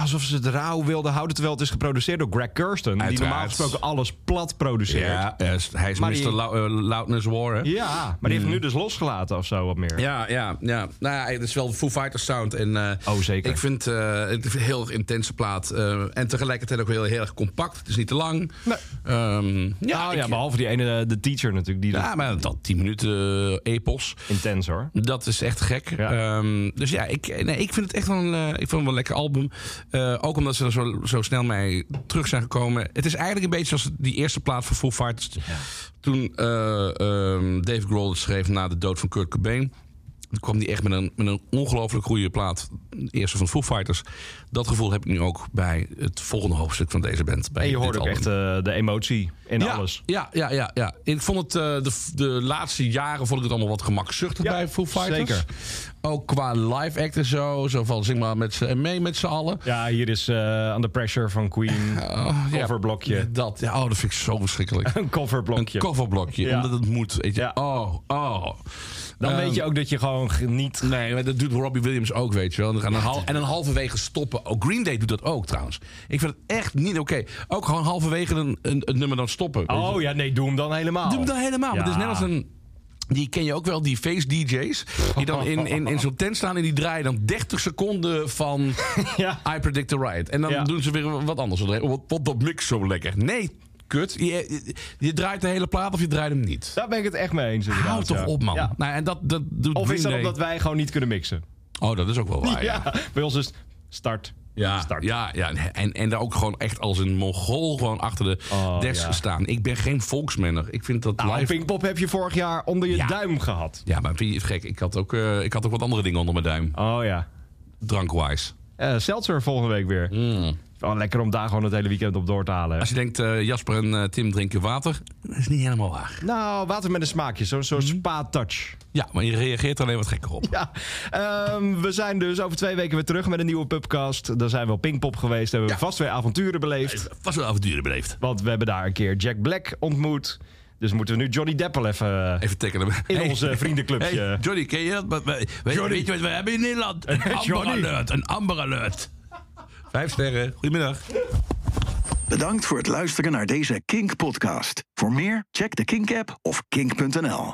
Speaker 3: Alsof ze het rauw wilden houden, terwijl het is geproduceerd door Greg Kirsten. Die
Speaker 2: Uiteraard.
Speaker 3: normaal gesproken alles plat produceert. Ja,
Speaker 2: eh, hij is
Speaker 3: Maar
Speaker 2: Mr.
Speaker 3: die-
Speaker 2: Lou- eh, Loudness War, hè?
Speaker 3: maar die heeft nu dus losgelaten of zo wat meer.
Speaker 2: Hmm. Ja, ja, ja. Nou ja, het is wel de Foo Fighters sound. En, eh,
Speaker 3: Oh, zeker.
Speaker 2: Ik vind eh, het een heel intense plaat. eh, en tegelijkertijd ook heel, heel erg compact. Het is niet te lang.
Speaker 3: Nee.
Speaker 2: Ehm,
Speaker 3: Ja,
Speaker 2: ja,
Speaker 3: Nou ja,
Speaker 2: ik-
Speaker 3: behalve die ene, eh, de teacher natuurlijk, die dus
Speaker 2: ja, maar dat 10 minuten eh, epos.
Speaker 3: intens hoor.
Speaker 2: Dat is echt gek.
Speaker 3: Ja.
Speaker 2: Ehm, dus ja, ik, nee, ik vind het echt wel een, eh, ik vind het wel een lekker album. Eh, ook omdat ze er zo, zo snel mee terug zijn gekomen. Het is eigenlijk een beetje zoals die eerste plaat van Foo Fighters. Toen eh, ehm, Dave Grohl het schreef na de dood van Kurt Cobain. Toen kwam die echt met een, met een ongelooflijk goede plaat. De eerste van Foo Fighters. Dat gevoel heb ik nu ook bij het volgende hoofdstuk van deze band. Bij
Speaker 3: En je hoort
Speaker 2: dit
Speaker 3: ook
Speaker 2: album.
Speaker 3: echt eh, de emotie in
Speaker 2: Ja,
Speaker 3: alles.
Speaker 2: Ja, ja, ja, ja. Ik vond het eh, de, de laatste jaren vond ik het allemaal wat gemakzuchtig
Speaker 3: Ja,
Speaker 2: bij Foo Fighters.
Speaker 3: zeker.
Speaker 2: Ook qua live act en zo. Zo van zing maar met z'n- en mee met z'n allen.
Speaker 3: Ja, hier is eh Under Pressure van Queen.
Speaker 2: Oh, ja.
Speaker 3: coverblokje.
Speaker 2: Dat, ja, oh, dat vind ik zo verschrikkelijk.
Speaker 3: Een coverblokje.
Speaker 2: Een coverblokje,
Speaker 3: Ja.
Speaker 2: omdat het moet. Weet je.
Speaker 3: Ja.
Speaker 2: Oh, oh.
Speaker 3: Dan
Speaker 2: Ehm,
Speaker 3: weet je ook dat je gewoon ge- niet...
Speaker 2: Nee, maar dat doet Robbie Williams ook, weet je wel. En dan, hal- en dan halverwege stoppen. Ook Green Day doet dat ook trouwens. Ik vind het echt niet oké. Ook gewoon halverwege een, een, een nummer dan stoppen. weet je
Speaker 3: Oh ja, nee, doe hem dan helemaal.
Speaker 2: Doe hem dan helemaal. Want het is
Speaker 3: Oh. Ja.
Speaker 2: net als een. Die ken je ook wel, die face DJ's. Die dan in, in, in zo'n tent staan en die draaien dan 30 seconden van
Speaker 3: Ja.
Speaker 2: I Predict the Riot. En dan
Speaker 3: Ja.
Speaker 2: doen ze weer wat anders. Wat, wat dat mix zo lekker. Nee, kut. Je, je, je draait de hele plaat of je draait hem niet.
Speaker 3: Daar ben ik het echt mee eens. inderdaad,
Speaker 2: Hou toch
Speaker 3: ja.
Speaker 2: op, man.
Speaker 3: Ja.
Speaker 2: Nou, en dat, dat doet
Speaker 3: Of is
Speaker 2: Green
Speaker 3: dat
Speaker 2: Day-
Speaker 3: omdat wij gewoon niet kunnen mixen?
Speaker 2: Oh, dat is ook wel waar. Ja.
Speaker 3: ja. bij ons is het start.
Speaker 2: Ja,
Speaker 3: start.
Speaker 2: ja, ja. En, en daar ook gewoon echt als een mongool gewoon achter de
Speaker 3: Oh,
Speaker 2: desk
Speaker 3: ja.
Speaker 2: staan. Ik ben geen volksmanner. Ik vind dat
Speaker 3: Nou,
Speaker 2: live...
Speaker 3: Pinkpop heb je vorig jaar onder je
Speaker 2: Ja.
Speaker 3: duim gehad.
Speaker 2: Ja, maar vind je het gek? Ik had, ook, eh, ik had ook wat andere dingen onder mijn duim.
Speaker 3: Oh ja.
Speaker 2: Drankwise.
Speaker 3: eh Seltzer volgende week weer. Wel lekker om daar gewoon het hele weekend op door te halen.
Speaker 2: Als je denkt, eh, Jasper en eh, Tim drinken water, dat is niet helemaal waar.
Speaker 3: Nou, water met een smaakje. Zo'n zo spa-touch.
Speaker 2: Ja, maar je reageert er alleen wat gekker op.
Speaker 3: Ja, ehm, we zijn dus over twee weken weer terug met een nieuwe pubcast. Dan zijn we op Pinkpop geweest. Hebben we
Speaker 2: Ja.
Speaker 3: vast weer avonturen beleefd.
Speaker 2: Vast wel avonturen beleefd.
Speaker 3: Want we hebben daar een keer Jack Black ontmoet. Dus moeten we nu Johnny Deppel even... eh,
Speaker 2: Even tekenen.
Speaker 3: In
Speaker 2: eh,
Speaker 3: onze vriendenclubje.
Speaker 2: Hey, Johnny, ken je dat? Wat- we- Weet,
Speaker 3: Johnny.
Speaker 2: weet je wat we hebben in Nederland? Een Amber
Speaker 3: Johnny.
Speaker 2: Alert. Een Amber Alert. Eh, Vijf sterren. Goedemiddag.
Speaker 1: Bedankt voor het luisteren naar deze Kink-podcast. Voor meer, check de Kink-app of kink.nl.